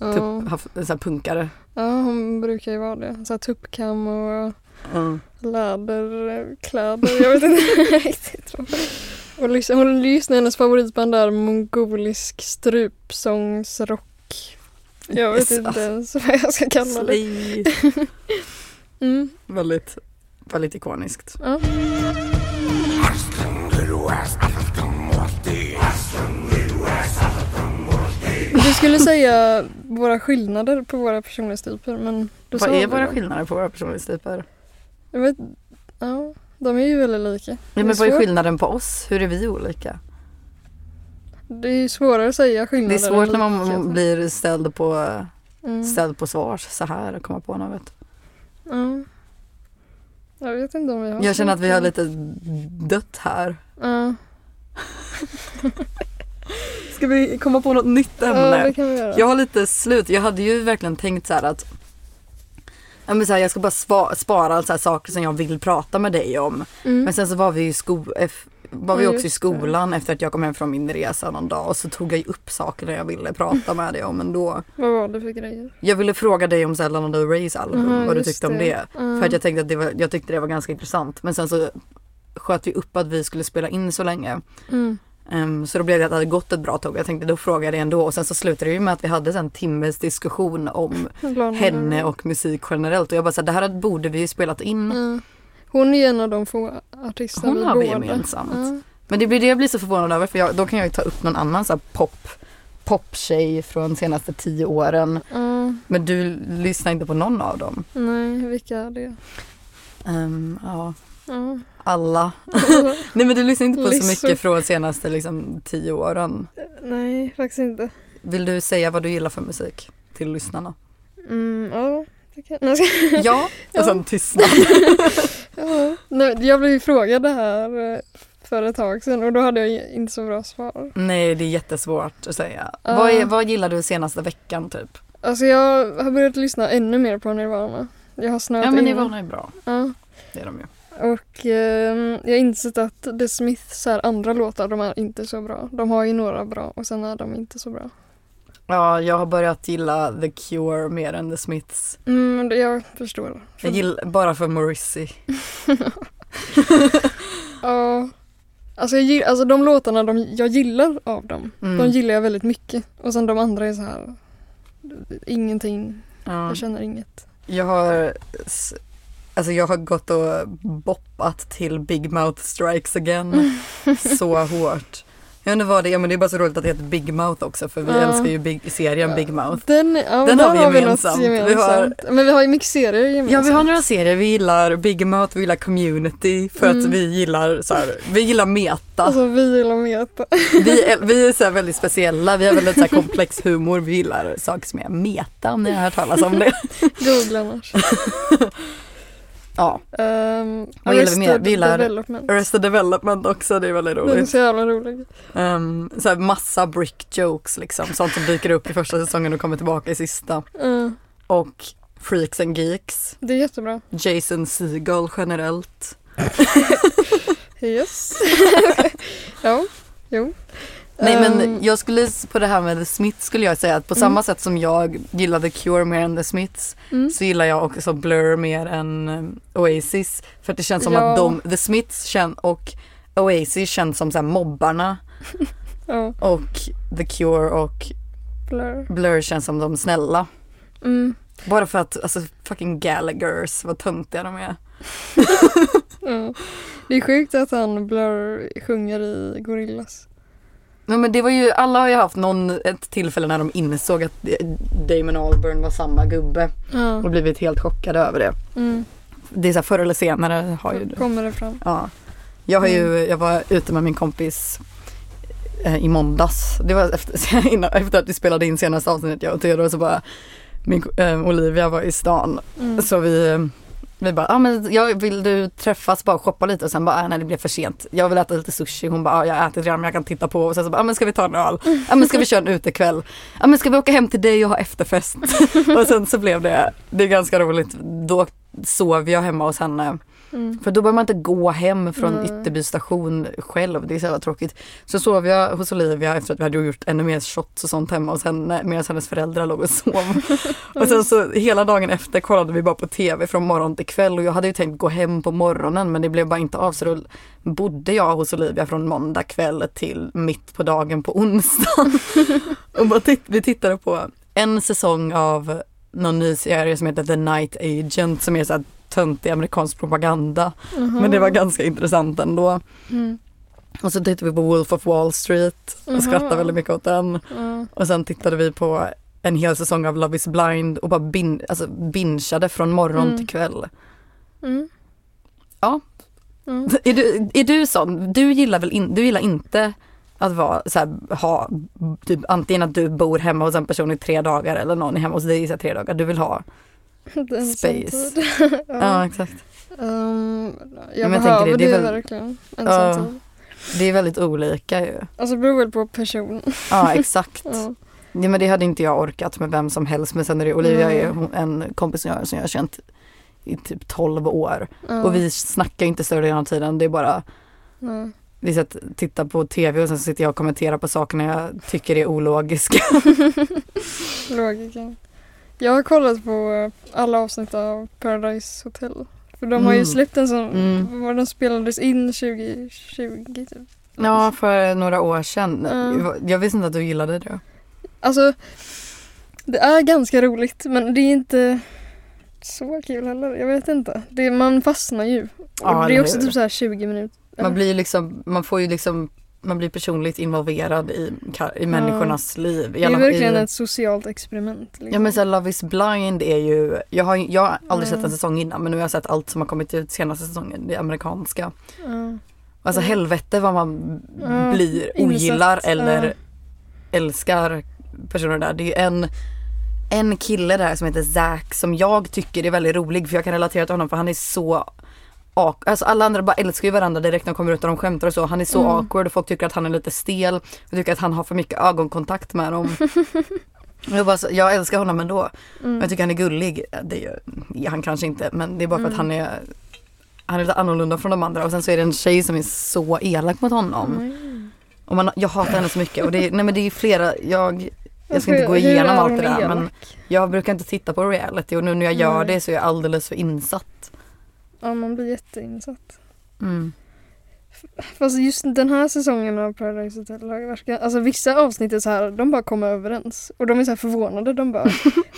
S2: Ja,
S1: Typ haft, så här punkare.
S2: ja hon brukar ju vara det. Så här, tuppkam och
S1: Mm.
S2: läderkläder. Jag vet inte riktigt. vad. Och liksom, hon lyssnar hennes favoritband är mongolisk strupsångsrock. Jag vet
S1: Yes, alltså.
S2: inte ens vad jag ska kalla det.
S1: Slay.
S2: Mm,
S1: Väldigt, väldigt ikoniskt.
S2: ja. Du skulle säga våra skillnader på våra personlighetstyper men då sa
S1: Vad är
S2: du
S1: våra
S2: det.
S1: skillnader på våra personlighetstyper?
S2: Jag vet, ja, de är ju väldigt lika.
S1: Ja,
S2: Det
S1: men
S2: är
S1: vad är
S2: svårt.
S1: skillnaden på oss? Hur är vi olika?
S2: Det är ju svårare att säga skillnader. alltså.
S1: Det är svårt
S2: än
S1: när man
S2: likheter.
S1: blir ställd på eh,
S2: Mm.
S1: ställd på svars så här och komma på något.
S2: Ja. Jag vet inte om vi har
S1: Jag känner att vi har
S2: så mycket.
S1: lite dött här.
S2: Ja,
S1: Ska vi komma på något nytt
S2: ja det kan vi göra.
S1: Jag har lite slut. Jag hade ju verkligen tänkt så här att ja, men så här, jag ska bara sva- spara så här saker som jag vill prata med dig om.
S2: Mm.
S1: Men sen så var vi ju i sko- eff- var vi
S2: Ja,
S1: också i
S2: just
S1: skolan efter att jag kom hem från min resa någon dag och så tog jag ju upp saker jag ville prata med dig om ändå.
S2: Vad var det för grejer?
S1: Jag ville fråga dig om så här Lana Del Reys album,
S2: Aha,
S1: vad du
S2: just Mm.
S1: tyckte om
S2: det.
S1: det.
S2: Ja.
S1: För att jag tänkte att det var, jag tyckte det var ganska intressant. Men sen så sköt vi upp att vi skulle spela in så länge.
S2: Mm.
S1: Ehm, så då blev det att det hade gått ett bra tag. Jag tänkte då frågar jag det ändå. Och sen så slutade det ju med att vi hade så en timmes diskussion om
S2: Lana Del Rey. Mm.
S1: henne och musik generellt. Och jag bara så här, det här borde vi ju spelat in.
S2: Ja. Hon är ju en av de få artister
S1: Hon
S2: vi
S1: har vi
S2: båda. Mm.
S1: gemensamt.
S2: Ja.
S1: Men det blir det jag blir så förvånad över för jag, då kan jag ju ta upp någon annan så här pop poptjej från de senaste tio åren.
S2: Ja,
S1: Men du lyssnar inte på någon av dem.
S2: nej, vilka är det?
S1: Ehm, ja,
S2: Ja.
S1: alla. Nej men du lyssnar inte på så
S2: Lyssnar.
S1: mycket från senaste liksom, tio åren.
S2: nej, faktiskt inte.
S1: Vill du säga vad du gillar för musik till lyssnarna?
S2: Mm, ja, det kan... nej, jag ska-
S1: Ja, och
S2: Ja.
S1: sen tystnad.
S2: ja. Nej, jag blev ju frågad det här eh, för ett tag sedan och då hade jag ju inte så bra svar.
S1: Nej, det är jättesvårt att säga.
S2: Ja.
S1: Vad, är, vad gillar du senaste veckan typ?
S2: Alltså jag har börjat lyssna ännu mer på Nirvana. Jag har snöat
S1: Ja men
S2: in.
S1: Nirvana är bra,
S2: Ja.
S1: det är de ju.
S2: Och eh, jag har insett att The Smiths här andra låtar, de är inte så bra. De har ju några bra och sen är de inte så bra.
S1: Ja, jag har börjat gilla The Cure mer än The Smiths.
S2: Mm, det- jag förstår.
S1: Jag gillar bara för Morrissey.
S2: Ja. Alltså, jag gill, alltså de låtarna de, jag gillar av dem,
S1: Mm.
S2: de gillar jag väldigt mycket. Och sen de andra är så här ingenting,
S1: Ja.
S2: jag känner inget.
S1: Jag har, s- alltså jag har gått och boppat till Big Mouth Strikes Again så hårt. Jag undrar vad det är, men det är bara så roligt att det heter Big Mouth också för vi
S2: Ja.
S1: älskar ju big, serien Big Mouth.
S2: Den, ja,
S1: Den
S2: där
S1: har vi gemensamt.
S2: något
S1: Vi har-
S2: gemensamt. Men vi har ju mixerier gemensamt.
S1: Ja vi har några serier, vi gillar Big Mouth, vi gillar Community för att
S2: Mm.
S1: vi gillar så här, vi gillar meta.
S2: Alltså vi gillar meta.
S1: Vi är, vi är så här väldigt speciella, vi har väldigt så här komplex humor, vi gillar saker som är meta om ni har hört talas om det.
S2: Googla annars.
S1: Ja,
S2: Um,
S1: Vad gillar vi mer? Vi gillar-
S2: Development.
S1: Arrested Development också, det är väldigt
S2: Den är
S1: roligt.
S2: så jävla rolig.
S1: Um, så här massa brick jokes liksom, sånt som dyker upp i första säsongen och kommer tillbaka i sista.
S2: Ja,
S1: Och Freaks and Geeks,
S2: Ehm, det är jättebra.
S1: Jason Segel generellt.
S2: Yes. ja, jo.
S1: Nej men
S2: Ehm,
S1: jag skulle på det här med The Smiths skulle jag säga att på samma sätt som jag gillar The Cure mer än The Smiths
S2: mm.
S1: så gillar jag också Blur mer än um, Oasis. För att det känns som
S2: Ja.
S1: att de, The Smiths kän, och Oasis känns som så här mobbarna
S2: Ja,
S1: och The Cure och
S2: blur.
S1: Blur känns som de snälla.
S2: Mm.
S1: Bara för att, alltså fucking Gallaghers, vad töntiga de är.
S2: Ja. Det är sjukt att han Blur sjunger i Gorillas.
S1: Ja, men det var ju, alla har ju haft någon, ett tillfälle när de insåg att eh, Damon Albarn var samma gubbe och
S2: Ja.
S1: blivit helt chockade över det.
S2: Mm.
S1: Det är så här, förr eller senare har ju
S2: Då kommer det fram.
S1: Ja. Jag, har ju, jag var ute med min kompis eh, i måndags. Det var efter, innan, efter att vi spelade in senaste avsnittet jag och Theodor så bara min, ko- eh, Olivia var i stan
S2: Mm.
S1: Så vi, vi bara, ah, men jag vill du träffas bara och shoppa lite och sen bara, ah, nej det blev för sent. Jag vill äta lite sushi. Hon bara, ah, jag har ätit redan men jag kan titta på. Och sen så bara, ah, men ska vi ta en öl? Ah, men ska vi köra en utekväll? Ah, men ska vi åka hem till dig och ha efterfest? och sen så blev det, det är ganska roligt, då sov jag hemma hos henne.
S2: Mm.
S1: För då behöver man inte gå hem från
S2: Nej.
S1: Ytterby station själv, det är så jävla tråkigt. Så sov jag hos Olivia efter att vi hade gjort ännu mer shots och sånt hemma hos henne medan hennes föräldrar låg och sov. och sen så hela dagen efter kollade vi bara på TV från morgon till kväll och jag hade ju tänkt gå hem på morgonen men det blev bara inte av så då bodde jag hos Olivia från måndag kväll till mitt på dagen på onsdagen. och bara titt- vi tittade på en säsong av någon ny serie som heter The Night Agent som är så här töntig amerikansk propaganda.
S2: Jaha.
S1: Men det var ganska intressant ändå.
S2: Mm.
S1: Och så tittade vi på Wolf of Wall Street och
S2: Jaha.
S1: skrattade väldigt mycket åt den.
S2: Ja.
S1: Och sen tittade vi på en hel säsong av Love is blind och bara bin, alltså bingeade från morgon
S2: Mm.
S1: till kväll.
S2: Mm.
S1: Ja.
S2: Mm.
S1: Är du, är du sån? Du gillar väl in, du gillar inte att vara så här, ha, typ, antingen att du bor hemma hos en person i tre dagar eller någon är hemma hos dig i så här tre dagar. Du vill ha.
S2: Den
S1: Space.
S2: samtid.
S1: Ja,
S2: ja.
S1: exakt.
S2: Ehm,
S1: jag
S2: jag
S1: tänker
S2: behöver
S1: det,
S2: det,
S1: det är väl-
S2: verkligen. En
S1: Ja.
S2: samtid.
S1: Det är väldigt olika ju.
S2: Alltså det beror väl på person.
S1: Ja exakt.
S2: Ja.
S1: Ja, men det hade inte jag orkat med vem som helst men sen är det Olivia
S2: Nej.
S1: är hon- en kompis som jag, har- som jag har känt i typ 12 år
S2: Ja.
S1: och vi snackar inte större delen av tiden det är bara
S2: Ja.
S1: vi satt, tittar på tv och sen sitter jag och kommenterar på saker när jag tycker är ologiska.
S2: Logiken. Jag har kollat på eh, alla avsnitt av Paradise Hotel. För de har ju
S1: Mm.
S2: släppt en sån,
S1: Mm.
S2: vad de spelades in 2020 typ.
S1: Ja för några år sedan.
S2: Mm.
S1: Jag visste inte att du gillade det.
S2: Alltså, det är ganska roligt men det är inte så kul heller. Jag vet inte. Det, man fastnar ju.
S1: Ja,
S2: och det
S1: eller
S2: är också
S1: hur?
S2: typ så här 20 minuter.
S1: Man blir ju liksom, man får ju liksom, man blir personligt involverad i, i människornas liv. I
S2: Det är
S1: alla-
S2: verkligen
S1: i,
S2: ett socialt experiment. Liksom.
S1: Ja men såhär Love is blind är ju, jag har, ju- jag har aldrig
S2: Mm.
S1: sett en säsong innan men nu har jag sett allt som har kommit ut senaste säsongen, det amerikanska.
S2: Ja.
S1: Alltså
S2: Mm.
S1: helvete vad man
S2: Ja,
S1: blir,
S2: insatt,
S1: ogillar eller
S2: ja.
S1: älskar personer där. Det är ju en, en kille där som heter Zack som jag tycker är väldigt rolig för jag kan relatera till honom för han är så awk- Alltså alla andra bara älskar ju varandra direkt när de kommer ut och de skämtar och så. Han är så
S2: Mm.
S1: awkward och folk tycker att han är lite stel. Jag tycker att han har för mycket ögonkontakt med dem. jag, bara, så- jag älskar honom ändå.
S2: Mm.
S1: Jag tycker han är gullig. Det är ju, han kanske inte men det är bara för att
S2: Mm.
S1: han är han är lite annorlunda från de andra och sen så är det en tjej som är så elak mot honom.
S2: Mm.
S1: Och man, jag hatar henne så mycket och det är, nej men det är flera, jag, jag ska inte
S2: Hur-
S1: gå
S2: hur
S1: igenom
S2: är
S1: allt
S2: hon
S1: det där men
S2: elak?
S1: jag brukar inte titta på reality och nu när jag gör
S2: Nej.
S1: det så är jag alldeles för insatt.
S2: Ja man blir jätteinsatt.
S1: Mm.
S2: Fast just den här säsongen av Paradise Hotel har ju verkligen, alltså vissa avsnitt är så här, de bara kommer överens. Och de är så här förvånade, de bara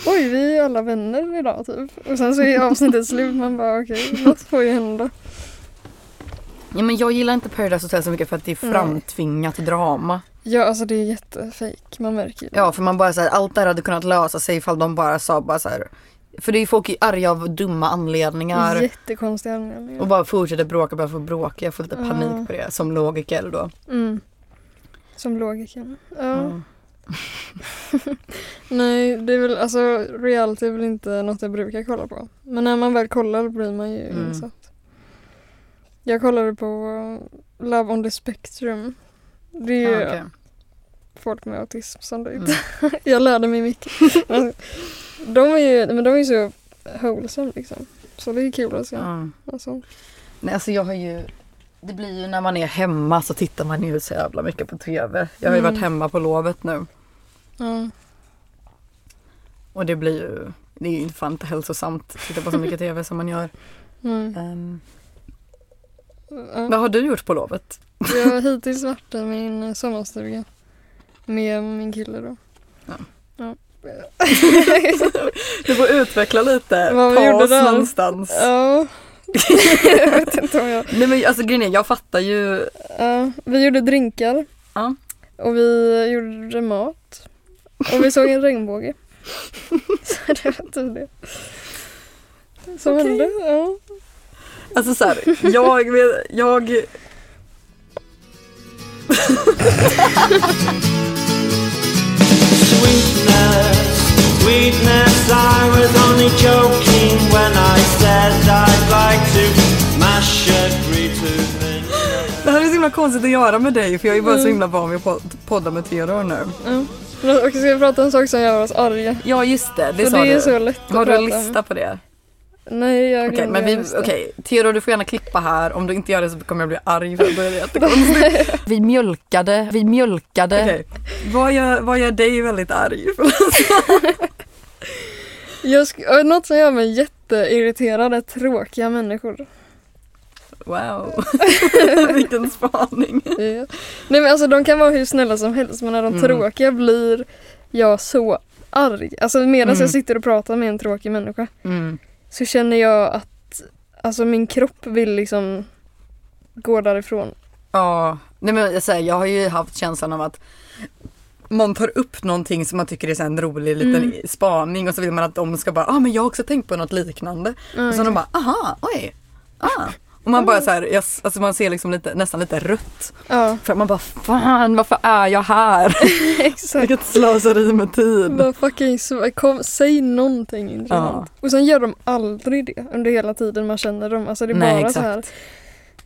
S2: oj vi är alla vänner idag typ. Och sen så är avsnittet slut, man bara okej något får ju hända.
S1: Ja, men jag gillar inte Paradise Hotel så mycket för att det är
S2: Nej.
S1: framtvingat drama.
S2: Ja alltså det är jättefejk, man märker ju det.
S1: Ja för man bara säger allt det här hade kunnat lösa sig ifall de bara sa bara så här. För det är ju folk är arga av dumma anledningar.
S2: Jättekonstiga anledningar.
S1: Och bara fortsätter bråka bara för att bråka. Jag får lite
S2: Ja.
S1: panik på det som logiker då.
S2: Mm. Som logiken. Ja.
S1: Mm.
S2: Nej, det är väl alltså reality är väl inte något jag brukar kolla på. Men när man väl kollar blir man ju
S1: Mm.
S2: insatt. Jag kollade på Love on the Spectrum. Det är ju
S1: Ja, Ah, okej.
S2: folk med autism som det
S1: Mm.
S2: Jag lärde mig mycket. Men de är ju men de är ju så wholesome liksom. Så det är kul att se.
S1: Ja.
S2: Alltså.
S1: Nej alltså jag har ju Det blir ju när man är hemma så tittar man ju så jävla mycket på TV. Jag har ju
S2: Mm.
S1: varit hemma på lovet nu
S2: Ja.
S1: och det blir ju Det är ju fan inte hälsosamt att titta på så mycket TV som man gör.
S2: Mm.
S1: Ehm,
S2: Ja.
S1: vad har du gjort på lovet?
S2: Jag har hittills varit i min eh, sommarstuga. Med min kille då.
S1: Ja.
S2: Ja.
S1: Du får utveckla lite.
S2: Vad vi
S1: Ta
S2: gjorde
S1: oss
S2: där?
S1: någonstans.
S2: Ja. jag vet inte om jag...
S1: Nej men alltså grejen är, jag fattar ju.
S2: Ja, vi gjorde drinkar.
S1: Ja.
S2: Och vi gjorde mat. Och vi såg en regnbåge. Så det var typ det. Som
S1: Okej.
S2: hände. Ja.
S1: Alltså så här, jag, vet- jag
S3: Sweetness, sweetness, I was only joking when I said I'd like to mash every tooth in
S1: Det här är så himla konstigt att göra med dig för jag är bara så himla van vid att pod- podda med Theodor nu.
S2: ja. Men Och ska vi prata om en sak som gör oss arga?
S1: Ja just det, det
S2: För
S1: sa
S2: det är
S1: du.
S2: så lätt att
S1: Har du
S2: prata
S1: en
S2: om.
S1: lista på det?
S2: Nej, jag
S1: Okej,
S2: glömde
S1: men
S2: göra
S1: vi,
S2: listan.
S1: okej, Theodor du får gärna klippa här. Om du inte gör det så kommer jag bli arg för då är det jättekonstigt. Vi mjölkade, vi mjölkade. Vad, gör, vad gör dig väldigt arg?
S2: Jag sk- något som gör mig jätteirriterad är tråkiga människor.
S1: Wow, vilken spaning.
S2: Ja. Nej men alltså de kan vara hur snälla som helst men när de
S1: Mm.
S2: tråkiga blir jag så arg. Alltså medan
S1: Mm.
S2: jag sitter och pratar med en tråkig människa så känner jag att alltså min kropp vill liksom gå därifrån.
S1: Ja, nej men jag säger, jag har ju haft känslan av att man tar upp någonting som man tycker är så här en rolig liten
S2: Mm.
S1: spaning och så vill man att de ska bara, ah men jag har också tänkt på något liknande.
S2: Ja,
S1: Och så de bara, aha, oj, ah. Och man bara så här, jag, alltså man ser liksom lite, nästan lite rött.
S2: Ja
S1: För att man bara, fan varför är jag här?
S2: exakt.
S1: Vilket slöseri med tid.
S2: Bara fucking sv- kom, säg någonting intressant. Och sen gör de aldrig det under hela tiden man känner dem. Alltså det är
S1: Nej,
S2: bara så
S1: exakt.
S2: här.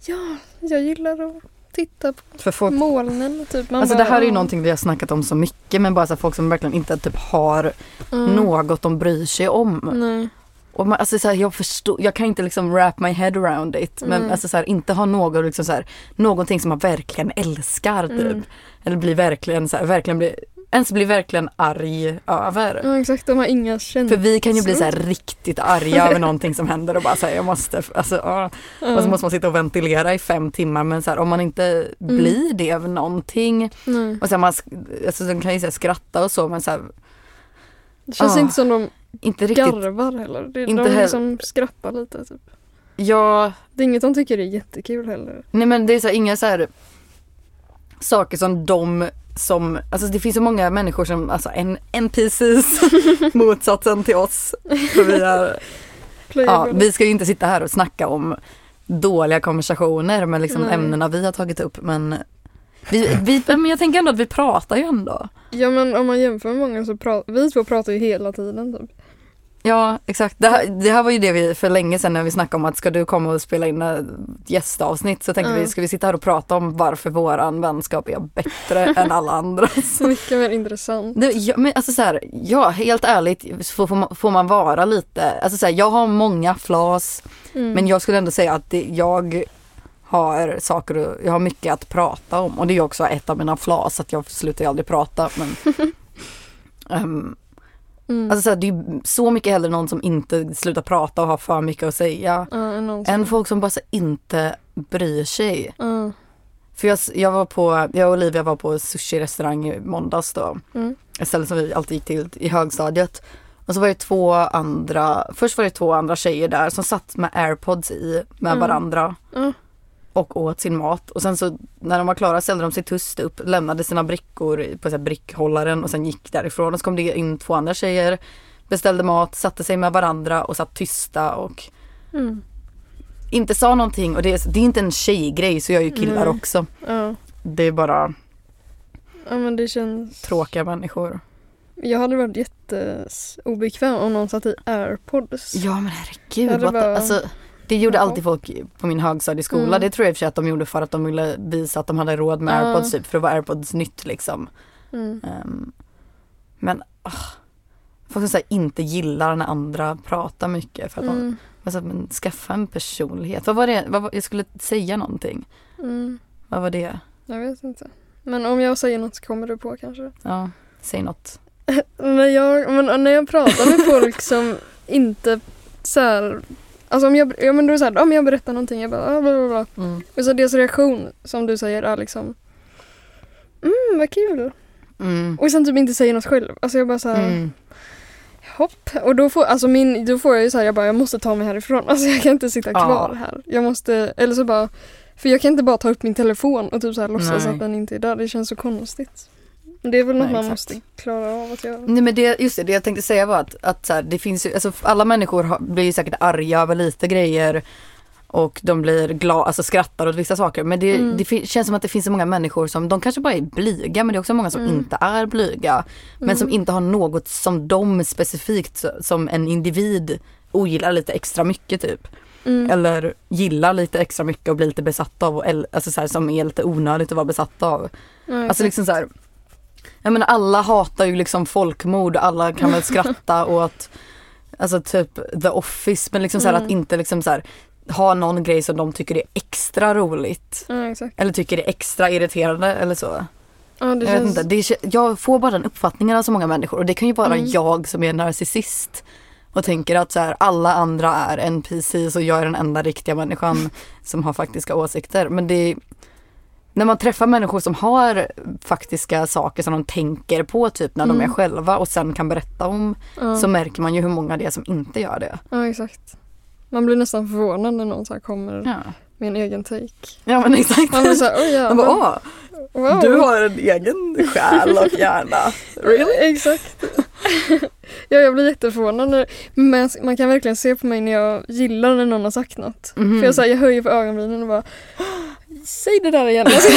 S2: Ja, jag gillar att titta på
S1: För folk,
S2: molnen typ. Man
S1: alltså det
S2: bara,
S1: här är ju
S2: "Ja,
S1: någonting vi har snackat om så mycket men bara så här, folk som verkligen inte typ har
S2: mm,
S1: något de bryr sig om.
S2: Nej.
S1: Och man, alltså så här, jag förstår, jag kan inte liksom wrap my head around it. Men
S2: Mm.
S1: alltså så här, inte ha något, liksom så här, någonting som man verkligen älskar typ.
S2: Mm.
S1: Eller blir verkligen så här, verkligen bli, ens blir verkligen arg över.
S2: Ja exakt, de har inga känslor.
S1: För vi kan ju bli så här riktigt arga över någonting som händer och bara säga jag måste, alltså ja.
S2: Ja.
S1: Och så måste man sitta och ventilera i fem timmar men så här, om man inte blir det av någonting.
S2: Nej.
S1: Och sen man, sk- alltså, de kan ju så här, skratta och så men så här,
S2: Det känns
S1: Ah.
S2: inte som de
S4: inte riktigt...
S2: garvar heller. Det,
S4: Inte
S2: de
S4: heller.
S2: liksom skrattar lite. Typ.
S4: Ja,
S2: Det är inget de tycker är jättekul heller.
S4: nej men det är så här,
S1: inga så här saker som de som, alltså det finns så många människor som, alltså en NPCs, motsatsen till oss. För vi, är, ja,
S2: Playable.
S1: vi ska ju inte sitta här och snacka om dåliga konversationer med liksom
S2: Nej.
S1: ämnena vi har tagit upp men vi, vi, men jag tänker ändå att vi pratar ju ändå.
S2: Ja men om man jämför med många så pratar vi två pratar ju hela tiden typ.
S1: Ja exakt, det här, det här var ju det vi för länge sedan när vi snackade om att ska du komma och spela in ett gästavsnitt så tänkte
S2: Mm.
S1: vi ska vi sitta här och prata om varför våran vänskap är bättre än alla andras.
S2: Så mycket mer intressant.
S1: Nej, ja, men alltså så här, ja helt ärligt så får, får, man, får man vara lite, alltså så här, jag har många flas
S2: Mm.
S1: men jag skulle ändå säga att det, jag har saker och, jag har mycket att prata om och det är ju också ett av mina flas att jag slutar ju aldrig prata men ehm,
S2: mm.
S1: Alltså så här, det är ju så mycket hellre någon som inte slutar prata och har för mycket att säga
S2: ja, än någon som-
S1: än folk som bara så inte bryr sig.
S2: ja.
S1: För jag, jag var på, jag och Olivia var på sushi-restaurang i måndags då.
S2: Mm.
S1: Ett ställe som vi alltid gick till i högstadiet. Och så var det två andra, först var det två andra tjejer där som satt med airpods i med
S2: Mm.
S1: varandra.
S2: Ja.
S1: Och åt sin mat. Och sen så när de var klara ställde de sig tyst upp, lämnade sina brickor i- på så här brickhållaren och sen gick därifrån. Och så kom det in två andra tjejer, beställde mat, satte sig med varandra och satt tysta och
S2: Mm.
S1: inte sa någonting. Och det är, det är inte en tjejgrej så jag är ju killar
S2: Nej.
S1: också.
S2: Ja.
S1: Det är bara
S2: ja men det känns...
S1: tråkiga människor.
S2: Jag hade varit jätteobekväm om någon satt i airpods.
S1: Ja men herregud.
S2: Ja, det
S1: what the-
S2: var-
S1: alltså, det gjorde
S2: Jaha.
S1: alltid folk på min högstadieskola.
S2: Mm.
S1: Det tror jag i och för sig att de gjorde för att de ville visa att de hade råd med
S2: Ja.
S1: airpods typ. För det var airpods nytt liksom.
S2: Mm.
S1: Ehm, men ah, folk som så här, inte gillar när andra pratar mycket. För att de,
S2: Mm.
S1: alltså, men, skaffa en personlighet. Vad var det? Vad var, jag skulle säga någonting.
S2: Mm.
S1: Vad var det?
S2: Jag vet inte. Men om jag säger något så kommer du på kanske.
S1: Ja, säg något.
S2: När jag, men när jag pratar med folk som inte så här, Alltså om jag, ja men då är det så här, om jag berättar någonting, jag bara ah, bla bla bla.
S1: Mm.
S2: Och så deras reaktion som du säger är liksom Mm, vad kul.
S1: Mm.
S2: Och sen typ inte säger något själv. Alltså jag bara så här,
S1: Mm.
S2: hopp. Och då får, alltså min, då får jag ju så här, jag bara jag måste ta mig härifrån. Alltså jag kan inte sitta
S1: Ja.
S2: kvar här. Jag måste, eller så bara, för jag kan inte bara ta upp min telefon och typ så här låtsas
S1: Nej.
S2: att den inte är där. Det känns så konstigt. Det är väl något
S1: Nej,
S2: man
S1: exakt. Mm.
S2: måste klara av att göra.
S1: Nej men det, just det, det jag tänkte säga var att, att så här, det finns ju, alltså alla människor har, blir ju säkert arga över lite grejer och de blir glada, alltså skrattar åt vissa saker. Men det,
S2: Mm.
S1: det fin- känns som att det finns så många människor som, de kanske bara är blyga men det är också många som
S2: Mm.
S1: inte är blyga. Men som inte har något som de specifikt som en individ ogillar lite extra mycket typ.
S2: Mm.
S1: Eller gillar lite extra mycket och blir lite besatt av, och, el- alltså så här, som är lite onödigt att vara besatt av.
S2: Ja,
S1: Alltså liksom så här. Jag menar alla hatar ju liksom folkmord, alla kan väl skratta åt alltså typ The Office men liksom så här
S2: Mm.
S1: att inte liksom så här ha någon grej som de tycker är extra roligt.
S2: Ja exakt.
S1: Eller tycker är extra irriterande eller så.
S2: Ja, det
S1: jag vet
S2: känns...
S1: inte, det är, jag får bara den uppfattningen av så många människor och det kan ju vara
S2: Mm.
S1: jag som är narcissist och tänker att så här, alla andra är NPCs och jag är den enda riktiga människan som har faktiska åsikter. Men det är, när man träffar människor som har faktiska saker som de tänker på typ när de
S2: Mm.
S1: är själva och sen kan berätta om
S2: Ja.
S1: så märker man ju hur många det är som inte gör det.
S2: ja exakt. Man blir nästan förvånad när någon så här kommer
S1: Ja,
S2: med en egen take.
S1: ja men exakt.
S2: Man blir såhär, oj
S1: Man bara,
S2: jävlar.
S1: åh,
S2: Wow.
S1: du har en egen själ och hjärna.
S2: Really? Exakt. ja, jag blir jätteförvånad. När, men man kan verkligen se på mig när jag gillar när någon har sagt något.
S1: Mhm.
S2: För jag, så här, jag höjer på ögonbrynen och bara Säg det där igen. Alltså,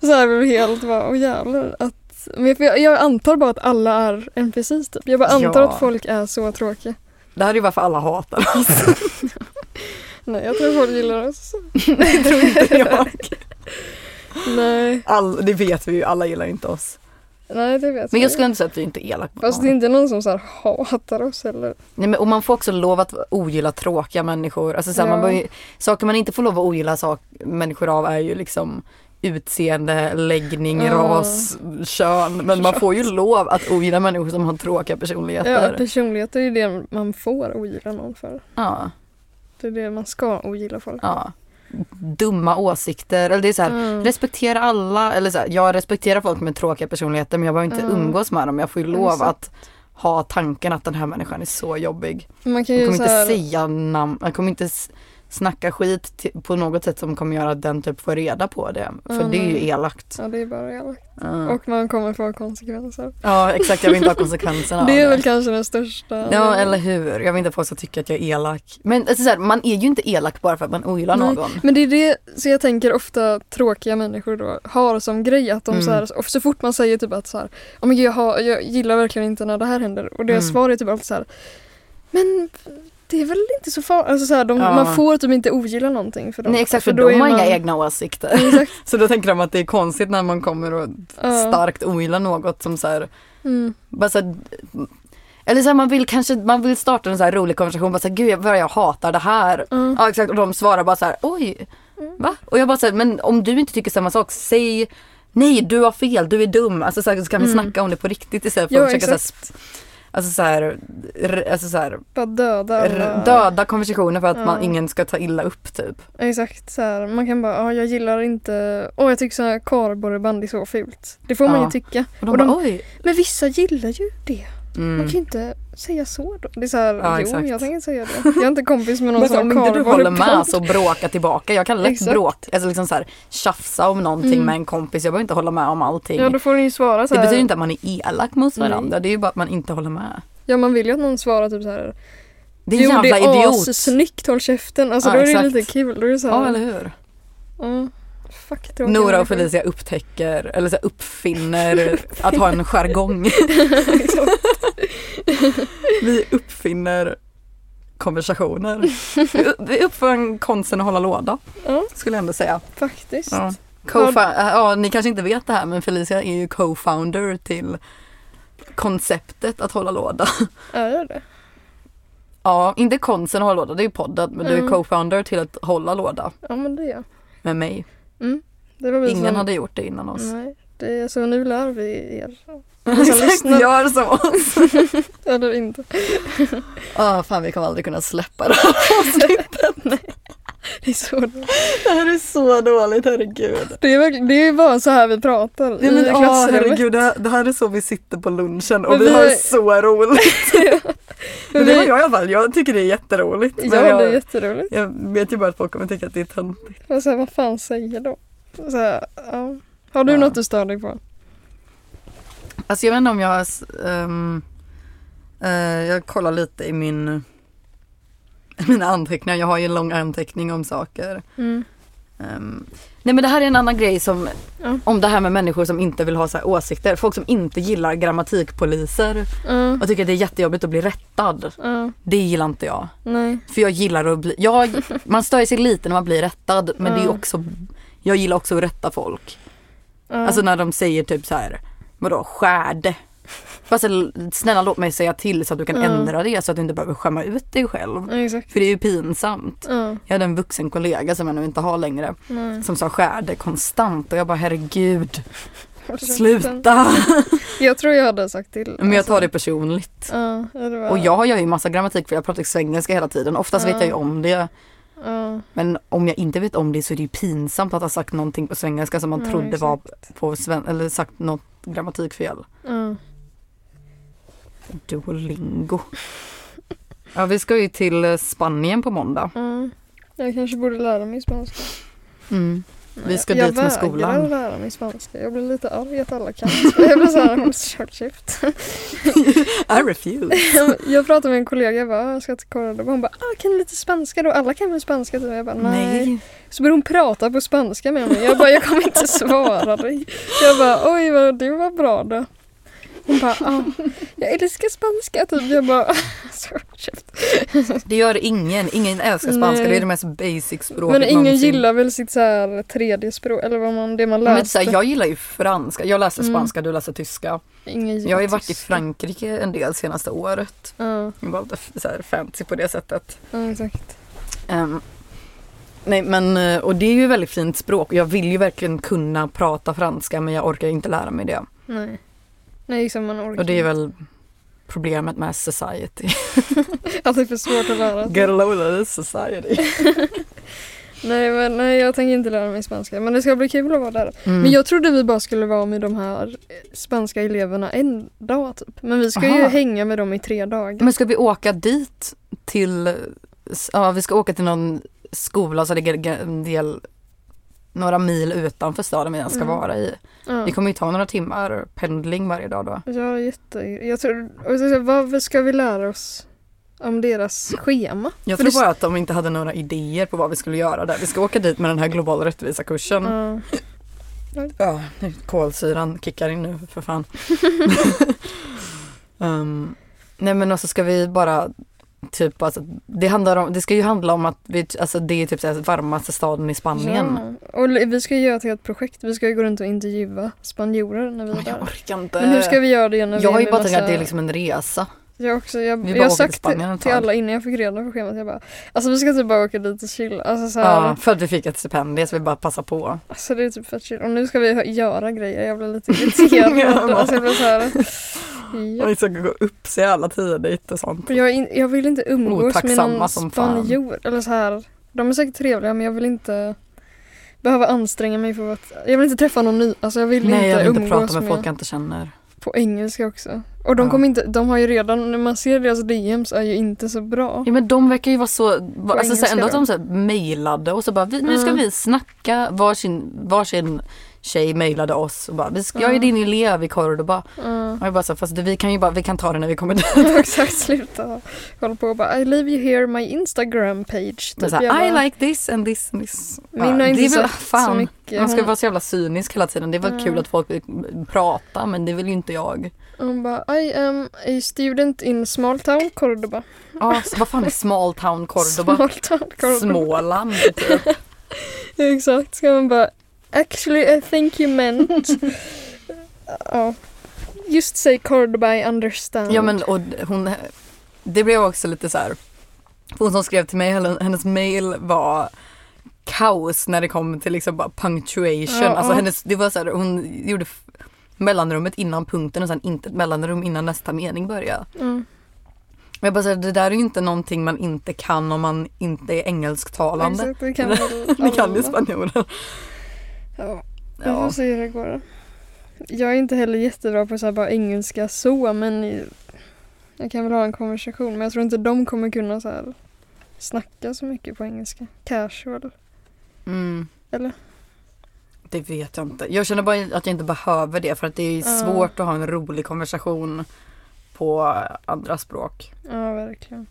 S2: så här blir det helt bara, åh jävlar. Att, men för jag, jag antar bara att alla är NPCs typ. Jag bara antar
S1: Ja.
S2: att folk är så tråkiga.
S1: Det här är ju varför alla hatar oss.
S2: Nej, jag tror folk gillar oss.
S1: Det tror inte jag.
S2: Nej,
S1: All, det vet vi ju, alla gillar inte oss.
S2: nej det vet
S1: Men jag
S2: inte.
S1: skulle inte säga att vi inte är elaka mot
S2: Fast det
S1: någon.
S2: är inte någon som så här hatar oss heller.
S1: Nej, men, och man får också lov att ogilla tråkiga människor. Alltså, så här, man
S2: Ja.
S1: bör ju, saker man inte får lov att ogilla sak, människor av är ju liksom utseende, läggning,
S2: Ja.
S1: ras, kön. Men man får ju lov att ogilla människor som har tråkiga
S2: Ja,
S1: personligheter. Ja.
S2: personlighet är ju det man får ogilla någon för.
S1: ja,
S2: Det är det man ska ogilla folk
S1: Dumma åsikter. Eller det är så här,
S2: Mm.
S1: respektera alla. Eller så här, jag respekterar folk med tråkiga personligheter men jag behöver inte
S2: Mm.
S1: umgås med dem. Jag får ju
S2: Ja,
S1: lov
S2: exakt.
S1: att ha tanken att den här människan är så jobbig.
S2: Man kan
S1: Jag
S2: ju
S1: kommer
S2: så
S1: inte
S2: här,
S1: säga namn, jag kommer inte s- snacka skit till, på något sätt som kommer göra att den typ får reda på det. För
S2: Mm.
S1: det är ju elakt.
S2: Ja det är bara elakt.
S1: Ja.
S2: Och man kommer få konsekvenser.
S1: Ja exakt, jag vill inte ha konsekvenserna
S2: det är
S1: av
S2: väl kanske den största.
S1: Ja eller hur, jag vill inte att folk ska tycka att jag är elak. Men alltså, så här, man är ju inte elak bara för att man ogillar
S2: Nej.
S1: någon.
S2: Men det är det så jag tänker ofta tråkiga människor då har som grej att de
S1: Mm.
S2: så här, och så fort man säger typ att så här, "Ja, men gud, jag, har, jag gillar verkligen inte när det här händer och deras
S1: Mm.
S2: svar är typ alltid så här, men det är väl inte så farligt, alltså så här, de,
S1: Ja.
S2: man får typ inte ogilla någonting för dem.
S1: Nej exakt, för
S2: då
S1: de
S2: är
S1: har inga
S2: man-
S1: egna åsikter.
S2: Exakt.
S1: Så då tänker de att det är konstigt när man kommer och
S2: Ja.
S1: starkt ogillar något som så här,
S2: Mm.
S1: bara så här, eller så här, man vill kanske, man vill starta en så här rolig konversation, bara så här, gud jag, vad jag hatar det här.
S2: Ja.
S1: Ja exakt och de svarar bara så här, oj, va? Och jag bara så här, men om du inte tycker samma sak, säg nej du har fel, du är dum. Alltså så, här, så kan vi
S2: Mm.
S1: snacka om det på riktigt istället för
S2: Ja,
S1: att försöka så
S2: exakt.
S1: här, alltså så här, r- alltså så här
S2: Bara döda
S1: r-
S2: alla.
S1: döda konversationer för att man,
S2: Ja.
S1: ingen ska ta illa upp typ.
S2: Exakt så här. man kan bara, ja jag gillar inte, åh jag tycker så här kardborreband är så fult. Det får man
S1: Ja.
S2: ju tycka.
S1: Och de,
S2: Och de-
S1: bara, oj.
S2: Men vissa gillar ju det. Man
S1: Mm.
S2: kan ju inte säga så då. Det är så här,
S1: Ja,
S2: jo
S1: exakt.
S2: jag tänker inte säga det. Jag är inte kompis med någon
S1: Men så,
S2: som
S1: om
S2: har
S1: inte du håller med
S2: kardborreband.
S1: så bråka tillbaka. Jag kan lätt
S2: Exakt.
S1: bråka, alltså liksom så här, tjafsa om någonting
S2: Mm.
S1: med en kompis. Jag behöver inte hålla med om allting.
S2: Ja då får ni ju svara så
S1: det
S2: här.
S1: betyder inte att man är elak mot
S2: Nej.
S1: varandra. Det är ju bara att man inte håller med.
S2: Ja man vill ju att någon svarar typ så här.
S1: Det är en
S2: jo,
S1: jävla
S2: det är
S1: idiot.
S2: assnyggt, håll käften. Alltså
S1: Ja,
S2: då är det
S1: exakt.
S2: lite kul. Då är det så här,
S1: Ja eller hur.
S2: ja, fuck tråkiga
S1: Nora och
S2: människor.
S1: Felicia upptäcker, eller så här, uppfinner att ha en jargong. Vi uppfinner konversationer. Vi upp- Vi uppfann konsten att hålla låda.
S2: Ja.
S1: Skulle jag ändå säga.
S2: Faktiskt.
S1: Ja. Co-fou- ja, ni kanske inte vet det här men Felicia är ju co-founder till konceptet att hålla låda.
S2: Är det?
S1: Ja, inte konsten att hålla låda, det är ju podden, men du är
S2: Mm.
S1: co-founder till att hålla låda
S2: Ja men det är jag.
S1: med mig.
S2: Det var vi
S1: Ingen
S2: som-
S1: hade gjort det innan oss.
S2: Nej, det är så nu lär vi er.
S1: Exakt,
S2: lyssnar.
S1: gör som oss.
S2: Eller inte.
S1: Ja, Ah, fan vi kommer aldrig kunna släppa det här.
S2: Det är, så,
S1: Det här är så dåligt, herregud.
S2: det, är verkligen, det är bara så här vi pratar
S1: Nej, men,
S2: i
S1: åh,
S2: klassrummet.
S1: herregud, det, här, det här är så vi sitter på lunchen och
S2: Men
S1: vi,
S2: vi-
S1: har så roligt.
S2: Men
S1: Men det
S2: vi-
S1: har jag i alla fall, jag tycker det är jätteroligt. Men
S2: ja, det är
S1: jag,
S2: jätteroligt.
S1: jag vet ju bara att folk kommer tycka att det är töntigt.
S2: Och så här, vad fan säger de? Så här, ja. Har du
S1: Ja.
S2: något du stör dig på?
S1: Alltså jag vet inte om jag... ehm, eh, jag kollar lite i min... Mina anteckningar, jag har ju en lång anteckning om saker. Ehm, nej men det här är en annan grej som...
S2: Ja.
S1: Om det här med människor som inte vill ha så här åsikter. Folk som inte gillar grammatikpoliser
S2: Ja,
S1: och tycker att det är jättejobbigt att bli rättad.
S2: ja,
S1: Det gillar inte jag.
S2: nej.
S1: För jag gillar att bli... Jag, man stör sig lite när man blir rättad men det är
S2: Ja.
S1: också... Jag gillar också att rätta folk.
S2: Ja.
S1: Alltså när de säger typ så här, vadå skärde? Fast l- snälla låt mig säga till så att du kan
S2: Ja.
S1: ändra det så att du inte behöver skämma ut dig själv.
S2: ja, exakt.
S1: För det är ju pinsamt.
S2: Ja,
S1: Jag hade en vuxen kollega som jag nu inte har längre
S2: nej.
S1: som sa skärde konstant och jag bara herregud
S2: Håll käften.
S1: sluta.
S2: Jag tror jag hade sagt till.
S1: Men jag tar
S2: alltså.
S1: det personligt.
S2: Ja, ja, det var...
S1: Och jag gör ju massa grammatik för jag pratar ju svengelska hela tiden. Oftast vet
S2: Ja.
S1: jag ju om det.
S2: Ja,
S1: Men om jag inte vet om det så är det ju pinsamt att ha sagt någonting på svengelska som man
S2: Ja,
S1: trodde var på sven- eller sagt något grammatikfel.
S2: ja.
S1: Duolingo. Ja, vi ska ju till eh, Spanien på måndag.
S2: ja. Jag kanske borde lära mig spanska. Mm.
S1: Vi ska dit med skolan.
S2: Jag vägrar lära mig spanska. Jag blir lite arg att alla kan. spanska. Jag blir såhär, håll håll käft.
S1: I refuse.
S2: Jag pratade med en kollega, jag bara, "Ah, jag ska till Cordoba. Hon bara, ah, kan du lite spanska då? Alla kan väl spanska? Typ. Jag bara, nej.
S1: Nej.
S2: Så började hon prata på spanska med mig. Jag bara, jag kommer inte svara dig. Jag bara, oj vad du var bra då. Hon bara, ah, jag älskar spanska typ. Jag bara, alltså, håll käft.
S1: Det gör ingen. Ingen älskar spanska.
S2: Nej.
S1: Det är det mest basic språket
S2: Men ingen
S1: någonsin.
S2: gillar väl sitt såhär tredje språk, eller vad man, det man
S1: Men så
S2: läste.
S1: här, jag gillar ju franska. Jag läser
S2: Mm.
S1: spanska, du läser tyska.
S2: ingen gillar
S1: Jag har ju varit i
S2: tyska.
S1: Frankrike en del senaste året.
S2: Ja,
S1: Jag var lite f- så här fancy på det sättet.
S2: ja, exakt.
S1: Ehm, nej men, eh, och det är ju väldigt fint språk. Jag vill ju verkligen kunna prata franska men jag orkar inte lära mig det.
S2: Nej. Nej, liksom man orkar
S1: Och det är
S2: inte.
S1: väl problemet med society.
S2: Alltså, Att det är för svårt att lära sig.
S1: Get a load of this society.
S2: Nej, men, nej jag tänker inte lära mig spanska men det ska bli kul att vara där.
S1: Mm.
S2: Men jag trodde vi bara skulle vara med de här eh, spanska eleverna en dag typ. Men vi ska ju
S1: Aha. Mm.
S2: hänga med dem i tre dagar.
S1: Men ska vi åka dit till, ja vi ska åka till någon skola så det är en del, några mil utanför staden vi ens ska
S2: Mm.
S1: vara i.
S2: Ja.
S1: Det kommer ju ta några timmar pendling varje dag då.
S2: Ja, jätte... Jag tror... och så- Vad ska vi lära oss om deras schema?
S1: Jag
S2: För
S1: tror
S2: det-
S1: bara att de inte hade några idéer på vad vi skulle göra där. Vi ska åka dit med den här globala rättvisa-kursen.
S2: Ja.
S1: Ja, nu kolsyran kickar in nu för fan. Ehm, nej men och så ska vi bara typ alltså, det, handlar om, det ska ju handla om att vi, alltså, det är typ så här varmaste staden i Spanien.
S2: Ja. Och li- vi ska ju göra ett helt projekt. Vi ska ju gå runt och intervjua spanjorer när vi är
S1: Men Jag
S2: där.
S1: orkar inte.
S2: Men hur ska vi göra det när vi
S1: jag har
S2: är
S1: ju
S2: med
S1: bara tänkt att
S2: massa-
S1: det är liksom en resa.
S2: Jag också. Jag,
S1: Vi bara
S2: jag har
S1: åker till
S2: sagt
S1: Spanien
S2: till,
S1: ett
S2: till
S1: tag.
S2: alla innan jag fick reda på schemat. Jag bara, alltså vi ska typ bara åka dit och chilla. Alltså så här,
S1: Ja, för att vi fick ett stipendium så vi bara passar på.
S2: alltså det är typ fett chill. Och nu ska vi hö- göra grejer. Jag blir lite irriterad. alltså jag blir så här, ja.
S1: vi ska gå upp sig alla tidigt och sånt.
S2: För Jag, är in, jag vill inte umgås med
S1: Otacksamma
S2: någon
S1: Oh, som fan.
S2: spanjor. Eller så här, de är säkert trevliga men jag vill inte behöva anstränga mig för att jag vill inte träffa någon ny. Alltså jag vill
S1: Nej jag
S2: inte
S1: vill inte
S2: umgås
S1: prata
S2: med,
S1: med folk jag inte känner.
S2: på engelska också. Och de
S1: Ja.
S2: kommer inte, de har ju redan, när man ser deras DMs är ju inte så bra.
S1: Ja men de verkar ju vara så, va- alltså så
S2: engelska
S1: här, ändå att
S2: då?
S1: de så här mejlade och så bara vi, nu ska
S2: Mm.
S1: vi snacka, varsin, varsin tjej mejlade oss och bara vi ska, jag är
S2: Mm.
S1: din elev i Cordoba.
S2: Ja.
S1: Och jag bara så här, fast vi kan ju bara, vi kan ta det när vi kommer dit.
S2: Exakt, sluta hålla på och bara I leave you here my Instagram page. Typ,
S1: Men så
S2: jag
S1: här,
S2: bara,
S1: I like this and this and this. Ja,
S2: Min har
S1: det
S2: inte
S1: är väl-
S2: sagt så
S1: fan.
S2: mycket.
S1: Man ska
S2: Hon,
S1: vara så jävla cynisk hela tiden. Det var
S2: Ja.
S1: kul att folk vill prata men det vill ju inte jag.
S2: hon bara I am a student in small town Cordoba.
S1: Ja, Ah, så vad fan är small town Cordoba?
S2: Small town Cordoba.
S1: Småland typ.
S2: Exakt, ska man bara Actually I think you meant Ja Just say Cordoba I understand
S1: Ja men och hon, det blev också lite så här. Hon som skrev till mig, henne- hennes mail var kaos när det kom till liksom bara punctuation.
S2: Ja,
S1: Alltså
S2: ja.
S1: hennes, det var så här, hon gjorde f- mellanrummet innan punkten och sen inte ett mellanrum innan nästa mening började.
S2: mm.
S1: Men jag bara säger det där är ju inte någonting man inte kan om man inte är engelsktalande.
S2: Exakt, det kan väl
S1: Det kan ju
S2: alla.
S1: spanjorer.
S2: Ja, vi får
S1: Ja.
S2: se hur det går Jag är inte heller jättebra på så här bara engelska så men Jag kan väl ha en konversation men jag tror inte de kommer kunna så här Snacka så mycket på engelska Casual
S1: Mm.
S2: Eller?
S1: Det vet jag inte. Jag känner bara att jag inte behöver det för att det är
S2: Ja.
S1: svårt att ha en rolig konversation på andra språk.
S2: Ja verkligen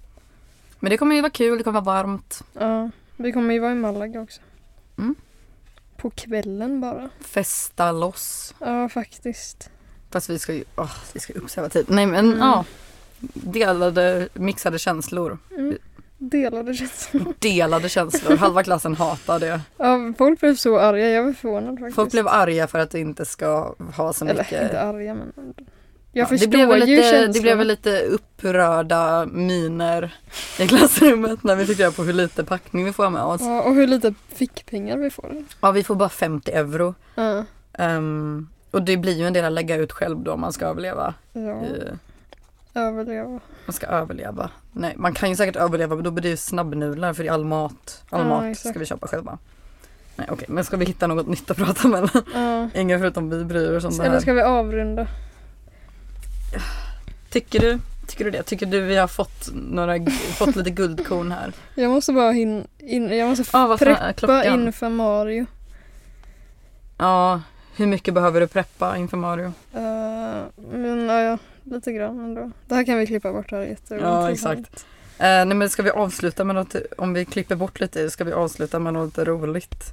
S1: Men det kommer ju vara kul, det kommer vara varmt.
S2: Ja, vi kommer ju vara i Malaga också
S1: Mm.
S2: På kvällen bara
S1: Festa loss.
S2: Ja faktiskt
S1: Fast vi ska ju, åh, vi ska ju upp så jävla tid. Nej men
S2: Mm.
S1: ja. Delade, mixade känslor.
S2: Mm. Delade känslor.
S1: Delade känslor. Halva klassen hatar det.
S2: Ja, folk blev så arga, jag var förvånad faktiskt.
S1: Folk blev arga för att det inte ska ha så
S2: Eller
S1: mycket.
S2: inte arga men...
S1: Ja,
S2: Jag förstår
S1: det blev väl
S2: ju
S1: lite,
S2: känslan.
S1: Det blev väl lite upprörda miner i klassrummet när vi fick reda på hur lite packning vi får ha med oss.
S2: Ja, och hur lite fickpengar vi får.
S1: Ja, vi får bara 50 euro.
S2: Ja.
S1: Ehm, och det blir ju en del att lägga ut själv då om man ska överleva.
S2: ja
S1: Eh,
S2: överleva.
S1: man ska överleva. Nej, man kan ju säkert överleva men då blir det ju snabbnudlar för det är all mat. All
S2: Ja,
S1: mat
S2: exakt.
S1: ska vi köpa själva. Nej okej, men ska vi hitta något nytt att prata om eller?
S2: Ja.
S1: Ingen förutom vi bryr oss om det
S2: Eller
S1: här.
S2: ska vi avrunda?
S1: Tycker du? Tycker du det? Tycker du vi har fått, några, fått lite guldkorn här?
S2: Jag måste bara hin... In... Jag måste
S1: Ja, vad fan är
S2: preppa
S1: klockan?
S2: inför Mario.
S1: Ja, hur mycket behöver du preppa inför Mario?
S2: Eh, men ja, ja, lite grann ändå. Det här kan vi klippa bort, det här är jätteintressant.
S1: Eh, nej men ska vi avsluta med något, om vi klipper bort lite, ska vi avsluta med något roligt?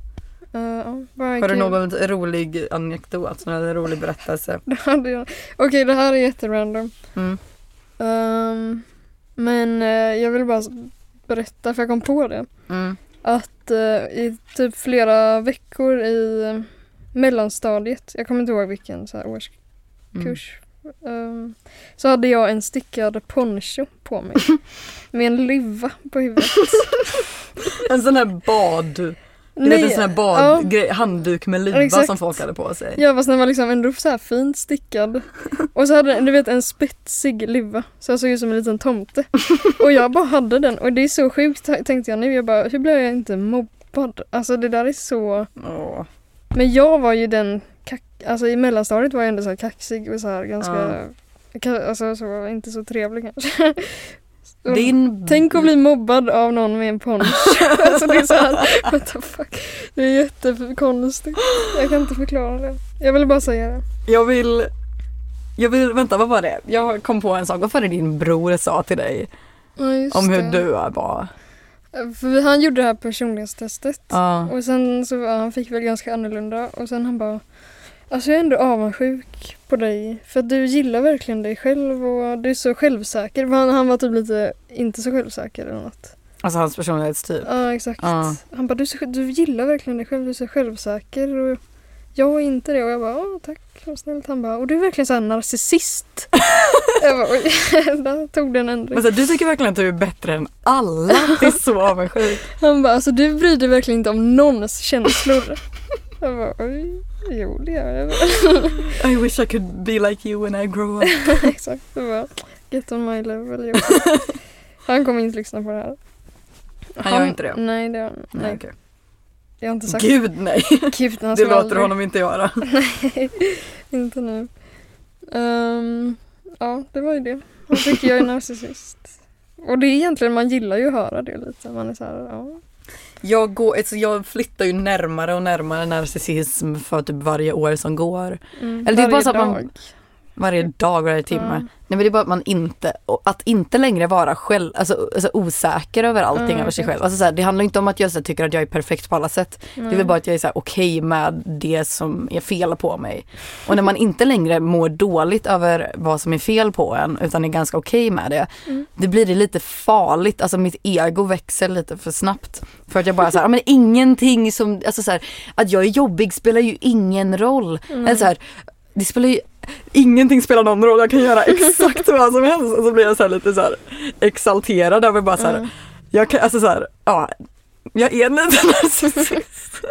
S2: Eh, ja, bara
S1: Har du
S2: kul.
S1: någon rolig anekdot, någon rolig berättelse?
S2: Det hade jag- Okej, det här är jätterandom.
S1: Mm.
S2: Ehm, men eh, jag vill bara s- berätta, för jag kom på det,
S1: Mm.
S2: att eh, i typ flera veckor i eh, mellanstadiet, jag kommer inte ihåg vilken så här, årskurs,
S1: Mm.
S2: ehm, så hade jag en stickad poncho på mig med en luva på huvudet.
S1: En sån här bad, du vet en sån här
S2: ja.
S1: badgrej, handduk med luva
S2: Exakt.
S1: som folk hade på sig.
S2: Ja fast den var liksom ändå så här fint stickad. Och så hade den, du vet en spetsig luva. Så jag såg ut som en liten tomte. Och jag bara hade den och det är så sjukt t- tänkte jag nu. Jag bara, hur blev jag inte mobbad? mobbad. Alltså det där är så...
S1: Åh.
S2: Men jag var ju den... Kack... Alltså i mellanstadiet var jag ändå så här kaxig och så här ganska... ka- Alltså så, inte så trevlig kanske. Så-
S1: Din...
S2: Mm. Tänk att bli mobbad av någon med en poncho. alltså det är så här, what the fuck. Det är jättekonstigt. Jag kan inte förklara det. Jag ville bara säga det.
S1: Jag vill... Jag vill, vänta vad var det? Jag kom på en sak, vad var det din bror sa till dig
S2: Ja, just
S1: om hur
S2: det.
S1: du är var?
S2: För vi- han gjorde det här personlighetstestet.
S1: Ja.
S2: Och sen så, ja, han fick väl ganska annorlunda och sen han bara Alltså jag är ändå avundsjuk på dig för att du gillar verkligen dig själv och du är så självsäker. För Han, han var typ lite inte så självsäker eller något.
S1: Alltså hans personlighetstyp.
S2: Ja exakt.
S1: Ja.
S2: Han bara du, är så- du gillar verkligen dig själv, du är så självsäker och jag är inte det och jag bara ja tack vad snällt. Han bara och du är verkligen såhär narcissist. jag bara oj, där tog den ändring.
S1: Men så, här, du tycker verkligen att du är bättre än alla. Det är så avundsjukt.
S2: Han bara, alltså du bryr dig verkligen inte om någons känslor. jag bara, oj, jo det gör jag.
S1: I wish I could be like you when I grow up.
S2: Exakt, det var get on my level. Jo. Han kommer inte lyssna på det här.
S1: Han gör inte det?
S2: Nej, det gör han
S1: Nej,
S2: nej.
S1: okej.
S2: Jag har inte sagt
S1: Gud nej,
S2: Gud, han
S1: det
S2: ska
S1: låter
S2: aldrig-
S1: honom inte göra.
S2: Inte nu. Ehm, ja, det var ju det. Han tycker jag är narcissist. Och det är egentligen, man gillar ju att höra det lite. Man är så här, ja.
S1: Jag, går, alltså, jag flyttar ju närmare och närmare narcissism för typ varje år som går.
S2: Mm,
S1: Eller det är bara
S2: varje
S1: så att man-
S2: dag.
S1: Varje dag, varje timme.
S2: Ja.
S1: Nej men det är bara att man inte, och att inte längre vara själv, alltså, alltså osäker över allting,
S2: Mm,
S1: över sig
S2: exakt.
S1: själv. Alltså, så här, det handlar inte om att jag så här, tycker att jag är perfekt på alla sätt. Det är väl
S2: Nej.
S1: bara att jag är så här, okej med det som är fel på mig. Och när man inte längre mår dåligt över vad som är fel på en utan är ganska okej med det.
S2: Mm.
S1: Det blir det lite farligt, alltså mitt ego växer lite för snabbt. För att jag bara så här, ja, men ingenting som, alltså så här, att jag är jobbig spelar ju ingen roll.
S2: Mm.
S1: Eller så här, det spelar ju, ingenting spelar någon roll, jag kan göra exakt vad som helst. Och så blir jag så här lite så här exalterad över bara så här,
S2: Mm.
S1: jag kan, alltså så här, ja, jag är en liten narcissist.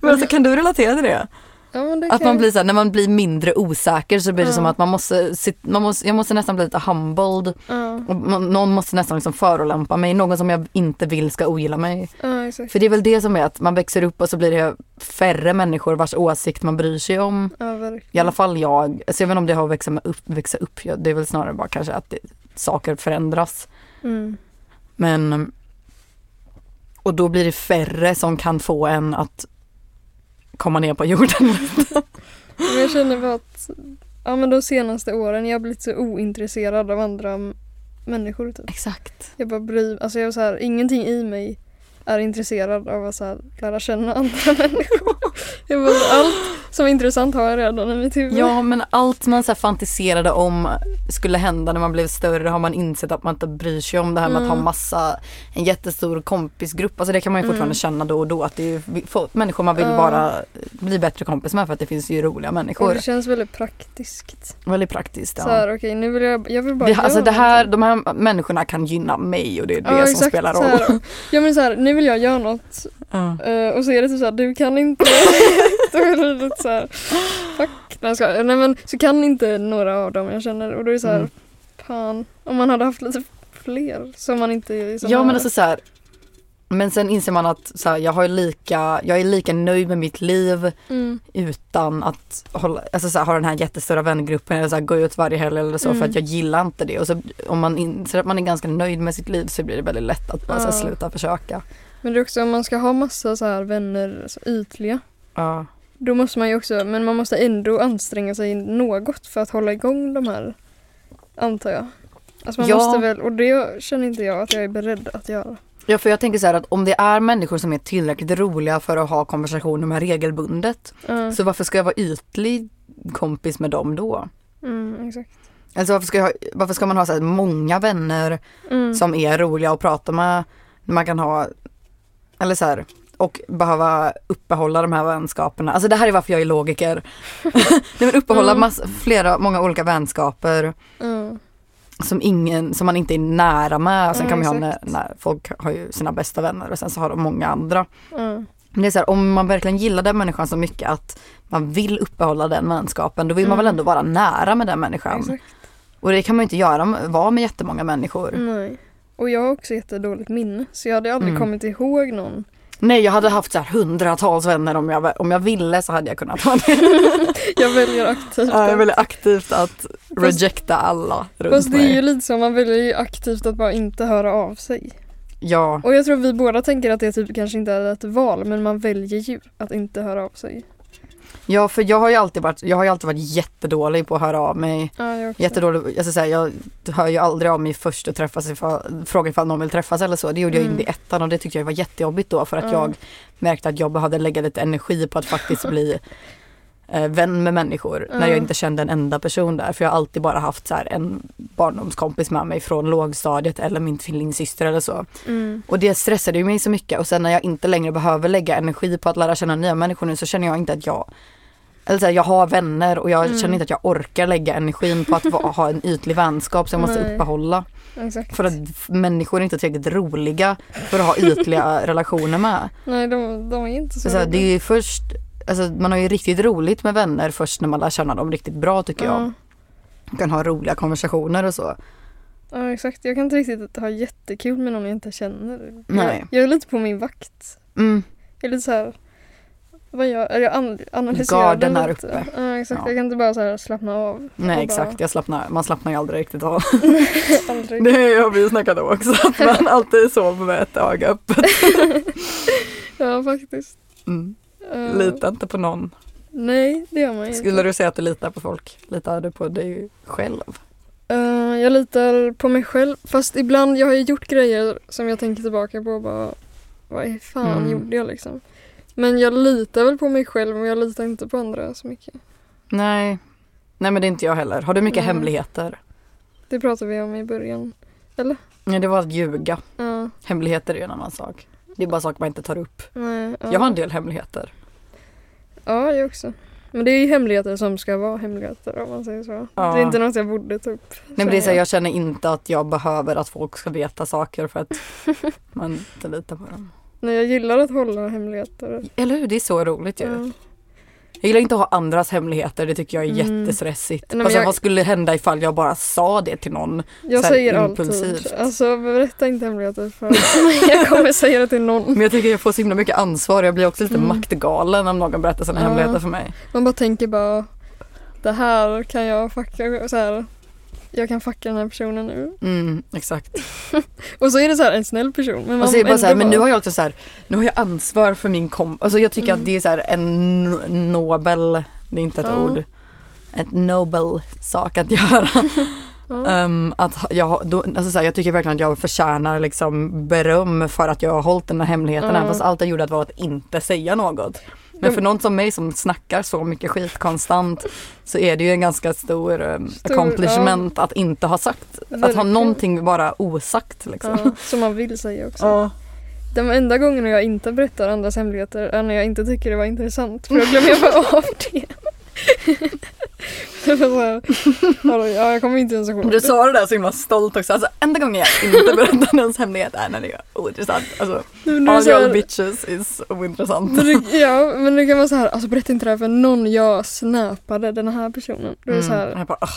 S1: Men alltså kan du relatera till det?
S2: Ja, men det
S1: Att
S2: kan
S1: man
S2: jag-
S1: blir så här, när man blir mindre osäker så blir det
S2: Ja.
S1: som att man måste, sit- man måste, jag måste nästan bli lite humbled.
S2: Ja,
S1: Och man- Någon måste nästan liksom förolämpa mig, någon som jag inte vill ska ogilla mig.
S2: ja, exakt.
S1: För det är väl det som är att man växer upp och så blir det färre människor vars åsikt man bryr sig om.
S2: Ja, verkligen.
S1: I alla fall jag, alltså jag vet inte om det har att växa med upp, växa upp, Jag- det är väl snarare bara kanske att det, saker förändras.
S2: Mm.
S1: Men och då blir det färre som kan få en att komma ner på jorden.
S2: Men jag känner bara att ja, men de senaste åren jag har blivit så ointresserad av andra m- människor. Typ.
S1: Exakt.
S2: Jag bara bryr alltså jag är så här, ingenting i mig är intresserad av att så här, lära känna andra människor. Jag bara, allt som är intressant har jag redan i mitt huvud.
S1: Ja men allt man så här fantiserade om skulle hända när man blev större har man insett att man inte bryr sig om det här med att ha
S2: Mm.
S1: massa, en jättestor kompisgrupp. Alltså det kan man ju fortfarande
S2: Mm.
S1: känna då och då att det är ju få- människor man vill
S2: Ja.
S1: bara bli bättre kompis med för att det finns ju roliga
S2: Och
S1: människor.
S2: det känns väldigt praktiskt.
S1: Väldigt praktiskt. Ja.
S2: Så här, okej, nu vill jag, jag vill bara
S1: det, alltså
S2: göra
S1: det här,
S2: någonting.
S1: de här människorna kan gynna mig och det är det
S2: Ja,
S1: som
S2: exakt,
S1: spelar
S2: så
S1: roll.
S2: här. Ja men så här, nu vill jag göra något
S1: Ja.
S2: Eh, och så är det typ såhär, du kan inte. då är det lite såhär, fuck. Nej, jag skojar. Nej men så kan inte några av dem jag känner och då är det såhär,
S1: Mm.
S2: fan. Om man hade haft lite fler som man inte är sån
S1: Ja
S2: här.
S1: men alltså så här. Men sen inser man att så här, jag, har ju lika, jag är lika nöjd med mitt liv
S2: Mm,
S1: utan att hålla, alltså så här, ha den här jättestora vängruppen eller så här, gå ut varje helg eller så för
S2: Mm.
S1: att jag gillar inte det. Och så, om man inser att man är ganska nöjd med sitt liv så blir det väldigt lätt att bara så här,
S2: Ja.
S1: sluta försöka.
S2: Men det är också om man ska ha massa så här vänner, alltså ytliga.
S1: Ja.
S2: Då måste man ju också, men man måste ändå anstränga sig något för att hålla igång de här, antar jag. Alltså man
S1: Ja.
S2: måste väl, och det känner inte jag att jag är beredd att göra.
S1: Ja för jag tänker så här att om det är människor som är tillräckligt roliga för att ha konversationer med regelbundet
S2: Ja,
S1: så varför ska jag vara ytlig kompis med dem då?
S2: mm, exakt.
S1: Alltså varför ska, jag, ha- varför ska man ha så här många vänner
S2: Mm.
S1: som är roliga att prata med. Man kan ha, eller så här, och behöva uppehålla de här vänskaperna. Alltså det här är varför jag är logiker. Nej men uppehålla
S2: Mm.
S1: mass, flera, många olika vänskaper
S2: Ja.
S1: som, ingen, som man inte är nära med. Sen
S2: Ja,
S1: kan man ju ha när,
S2: Mm, exakt.
S1: när folk har ju sina bästa vänner och sen så har de många andra.
S2: Ja.
S1: Men det är så här, om man verkligen gillar den människan så mycket att man vill uppehålla den vänskapen då vill man
S2: Mm.
S1: väl ändå vara nära med den människan.
S2: exakt.
S1: Och det kan man ju inte göra, med- vara med jättemånga människor.
S2: Nej. Och jag har också jättedåligt minne så jag hade aldrig
S1: Mm.
S2: kommit ihåg någon.
S1: Nej, jag hade haft så här hundratals vänner om jag, om jag ville så hade jag kunnat ha det.
S2: Jag väljer aktivt.
S1: Ja, jag
S2: att-
S1: väljer aktivt att rejecta alla runt
S2: Fast det är
S1: mig.
S2: ju lite så, man väljer ju aktivt att bara inte höra av sig.
S1: Ja,
S2: Och jag tror vi båda tänker att det typ kanske inte är ett val men man väljer ju att inte höra av sig.
S1: ja, för jag har ju alltid varit, jag har ju alltid varit jättedålig på att höra av mig.
S2: Ja, jag också.
S1: Jättedålig, jag ska säga, jag hör ju aldrig av mig först och träffas ifall, frågar ifall någon vill träffas eller så. Det gjorde jag
S2: Mm.
S1: inte i ettan och det tyckte jag var jättejobbigt då för att
S2: Mm.
S1: jag märkte att jag behövde lägga lite energi på att faktiskt bli eh, vän med människor när jag
S2: Mm.
S1: inte kände en enda person där. För jag har alltid bara haft så här, en barndomskompis med mig från lågstadiet eller min tvillingsyster eller så.
S2: Mm.
S1: Och det stressade ju mig så mycket och sen när jag inte längre behöver lägga energi på att lära känna nya människor nu så känner jag inte att jag eller så här, jag har vänner och jag
S2: Mm.
S1: känner inte att jag orkar lägga energin på att va- ha en ytlig vänskap som jag måste
S2: Nej.
S1: uppehålla.
S2: Exakt.
S1: För att f- människor är inte tillräckligt roliga för att ha ytliga relationer med.
S2: Nej, de, de är inte
S1: Så
S2: så,
S1: så här, det
S2: roliga.
S1: är ju först, alltså, man har ju riktigt roligt med vänner först när man lär känna dem riktigt bra tycker jag.
S2: Ja.
S1: Man kan ha roliga konversationer och så.
S2: Ja exakt, jag kan inte riktigt ha jättekul med någon jag inte känner.
S1: Nej.
S2: Jag, jag är lite på min vakt.
S1: Mm.
S2: Jag är lite så här, vad gör jag? Jag an- analyserar
S1: Garden här
S2: lite.
S1: uppe.
S2: Ja exakt,
S1: Ja.
S2: jag kan inte bara så här slappna av.
S1: Nej
S2: bara-
S1: exakt, jag slappnar, man slappnar ju aldrig riktigt av.
S2: Aldrig.
S1: Det har vi ju snackat om också, att man alltid sover med ett öga öppet.
S2: Ja faktiskt.
S1: Mm.
S2: Eh,
S1: Lita inte på någon.
S2: Nej, det gör man inte.
S1: Skulle du säga att du litar på folk? Litar du på dig själv?
S2: Eh, jag litar på mig själv. Fast ibland, jag har ju gjort grejer som jag tänker tillbaka på och bara, vad i fan
S1: Mm.
S2: gjorde jag liksom? Men jag litar väl på mig själv men jag litar inte på andra så mycket.
S1: Nej. Nej men det är inte jag heller. Har du mycket
S2: Nej.
S1: hemligheter?
S2: Det pratade vi om i början.
S1: Nej det var att ljuga.
S2: Ja,
S1: Hemligheter är ju en annan sak. Det är bara saker man inte tar upp.
S2: nej, ja.
S1: Jag har en del hemligheter.
S2: Ja, jag också. Men det är ju hemligheter som ska vara hemligheter om man säger så.
S1: Ja.
S2: Det är inte något jag borde ta upp.
S1: Nej men det är så här,
S2: jag.
S1: jag känner inte att jag behöver att folk ska veta saker för att man inte litar på dem.
S2: Nej, jag gillar att hålla hemligheter.
S1: Eller hur? Det är så roligt ju.
S2: Ja.
S1: Jag gillar inte att ha andras hemligheter, det tycker jag är
S2: Mm.
S1: jättestressigt.
S2: Nej, men
S1: alltså,
S2: jag-
S1: Vad skulle hända ifall jag bara sa det till någon?
S2: Jag
S1: Så här
S2: säger
S1: impulsivt.
S2: alltid. Alltså berätta inte hemligheter för jag kommer säga det till någon.
S1: Men jag tycker jag får så himla mycket ansvar jag blir också lite
S2: Mm.
S1: maktgalen om någon berättar sina
S2: Ja.
S1: hemligheter för mig.
S2: Man bara tänker bara det här kan jag fucka så här. Jag kan fucka den här personen nu.
S1: Mm, exakt.
S2: Och så är det så här en snäll person. Men man
S1: Och så är det bara så här,
S2: ändå
S1: men nu
S2: bara-
S1: har jag också så här, nu har jag ansvar för min kom... Alltså jag tycker
S2: Mm.
S1: att det är så här en no- nobel, det är inte ett
S2: Ja.
S1: ord, ett nobel sak att göra.
S2: ja.
S1: Ehm, att ha- jag, har- då, alltså så här, jag tycker verkligen att jag förtjänar liksom beröm för att jag har hållit den här hemligheten
S2: Ja. Mm.
S1: även fast allt jag gjorde var att inte säga något. Men för någon som mig som snackar så mycket skit konstant så är det ju en ganska stor, um,
S2: Stor,
S1: accomplishment att inte ha sagt, att ha
S2: Verkligen.
S1: någonting bara osagt liksom.
S2: Ja, som man vill säga också.
S1: Ja.
S2: De enda gångerna jag inte berättar andras hemligheter är när jag inte tycker det var intressant. För då glömmer jag bara av det. Det var så här, "Hallå, ja, jag kommer inte ens ihåg
S1: Du
S2: det.
S1: sa det där så himla stolt också, alltså enda gången jag inte berättar någons hemlighet är när det är ointressant. Alltså,
S2: Men det är
S1: all
S2: så här-
S1: y'all bitches is ointressant.
S2: men det- Ja, men det kan vara så här, alltså berätta inte det här för någon jag snäpade den här personen. Då är det så
S1: Mm,
S2: här,
S1: jag bara, "Ah,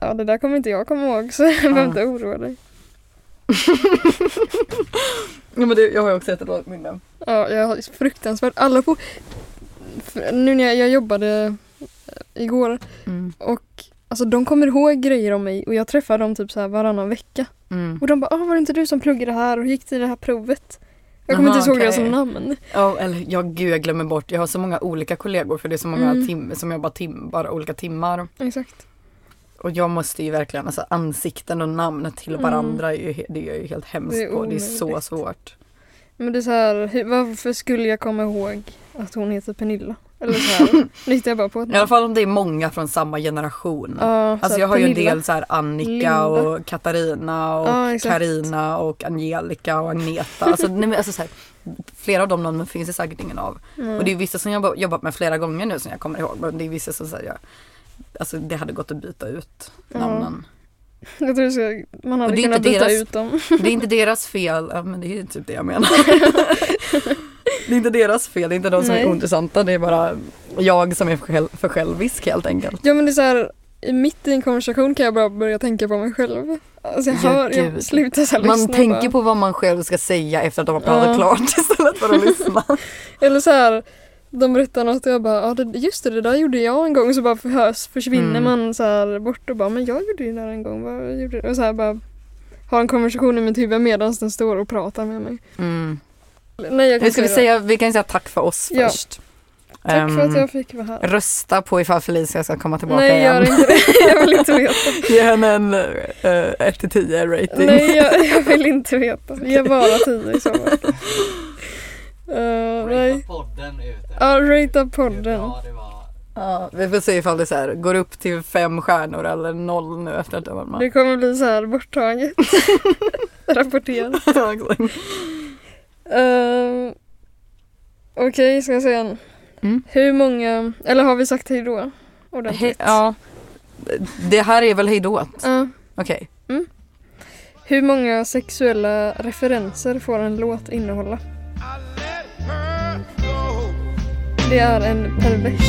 S2: ja det där kommer inte jag komma ihåg så behöver inte oroa dig.
S1: ja, men det, jag har ju också ett dåligt minne.
S2: Ja, jag har fruktansvärt, alla på... för- Nu när jag, jag jobbade eh, igår
S1: Mm.
S2: och alltså de kommer ihåg grejer om mig och jag träffar dem typ så här varannan vecka.
S1: Mm.
S2: Och de bara, ah, var det inte du som pluggade här och gick till det här provet? Jag kommer
S1: Aha,
S2: inte ihåg deras
S1: okej.
S2: namn.
S1: Ja, eller ja, gud jag glömmer bort. Jag har så många olika kollegor för det är så många
S2: Mm.
S1: tim- som jobbar tim- bara olika timmar.
S2: Exakt.
S1: Och jag måste ju verkligen, alltså ansikten och namn till
S2: Mm.
S1: varandra är ju, he- det är jag ju helt hemskt
S2: Det är
S1: på. Det är så
S2: omöjligt.
S1: svårt.
S2: Men det är så här, hur, varför skulle jag komma ihåg att hon heter Pernilla? Eller så här, nu hittar jag bara på ett
S1: I alla fall om det är många från samma generation.
S2: Ja, så
S1: Alltså
S2: här,
S1: jag har ju en
S2: Pernilla.
S1: del så här Annika
S2: Linda.
S1: och Katarina och
S2: Ja, exakt.
S1: Karina och Angelica och Agneta. Alltså, nej, men alltså så här, flera av de namnen finns det säkert ingen av.
S2: Mm.
S1: Och det är vissa som jag har jobbat med flera gånger nu som jag kommer ihåg. Men det är vissa som säger alltså det hade gått att byta ut
S2: Ja.
S1: namnen.
S2: Jag tror så, man
S1: Och
S2: hade
S1: det är
S2: kunnat
S1: inte
S2: byta
S1: deras-
S2: ut dem.
S1: Det är inte deras fel, ja, men det är ju typ det jag menar. det är inte deras fel, det är inte de som
S2: Nej.
S1: är ointressanta. Det är bara jag som är för, själv, för självisk helt enkelt.
S2: Ja men det är så här, i- mitt i en konversation kan jag bara börja tänka på mig själv. Alltså jag
S1: Ja,
S2: hör, jag
S1: gud.
S2: slutar så här
S1: Man
S2: lyssna
S1: tänker
S2: bara.
S1: på vad man själv ska säga efter att de har pratat
S2: Ja.
S1: klart istället för att lyssna.
S2: Eller så här, de berättar något och jag bara, ja det, just det, det där gjorde jag en gång. Så bara förhörs, försvinner
S1: Mm.
S2: man så här bort och bara, men jag gjorde ju det där en gång. Vad gjorde du? Och så här bara har en konversation i mitt huvud medan den står och pratar med mig.
S1: Mm.
S2: Nej, jag kan
S1: Nu ska vi, säga, vi kan säga tack för oss
S2: Ja.
S1: först.
S2: Tack för
S1: Ehm,
S2: att jag fick vara här.
S1: Rösta på ifall Felicia ska komma tillbaka
S2: Nej,
S1: igen.
S2: gör inte det. Jag vill inte veta.
S1: Ge henne en eh, 1-10 rating.
S2: Nej, jag, jag vill inte veta. Ge bara tio i så fall. Eh, nej.
S4: Ratea podden ute.
S2: Ja, ratea
S4: Hur
S2: podden.
S4: bra det var.
S1: Ja, vi får se ifall det så här, går upp till fem stjärnor eller noll nu efter att det var med.
S2: Det kommer bli så här borttaget. Rapporterat.
S1: Ja, exakt.
S2: Ehm, Okej, ska jag säga en?
S1: Mm.
S2: Hur många, eller har vi sagt hej då?
S1: He-
S2: Ordentligt.
S1: ja. Det här är väl hejdå?
S2: Ja.
S1: Okej.
S2: Eh, hur många sexuella referenser får en låt innehålla? Det är en pervers.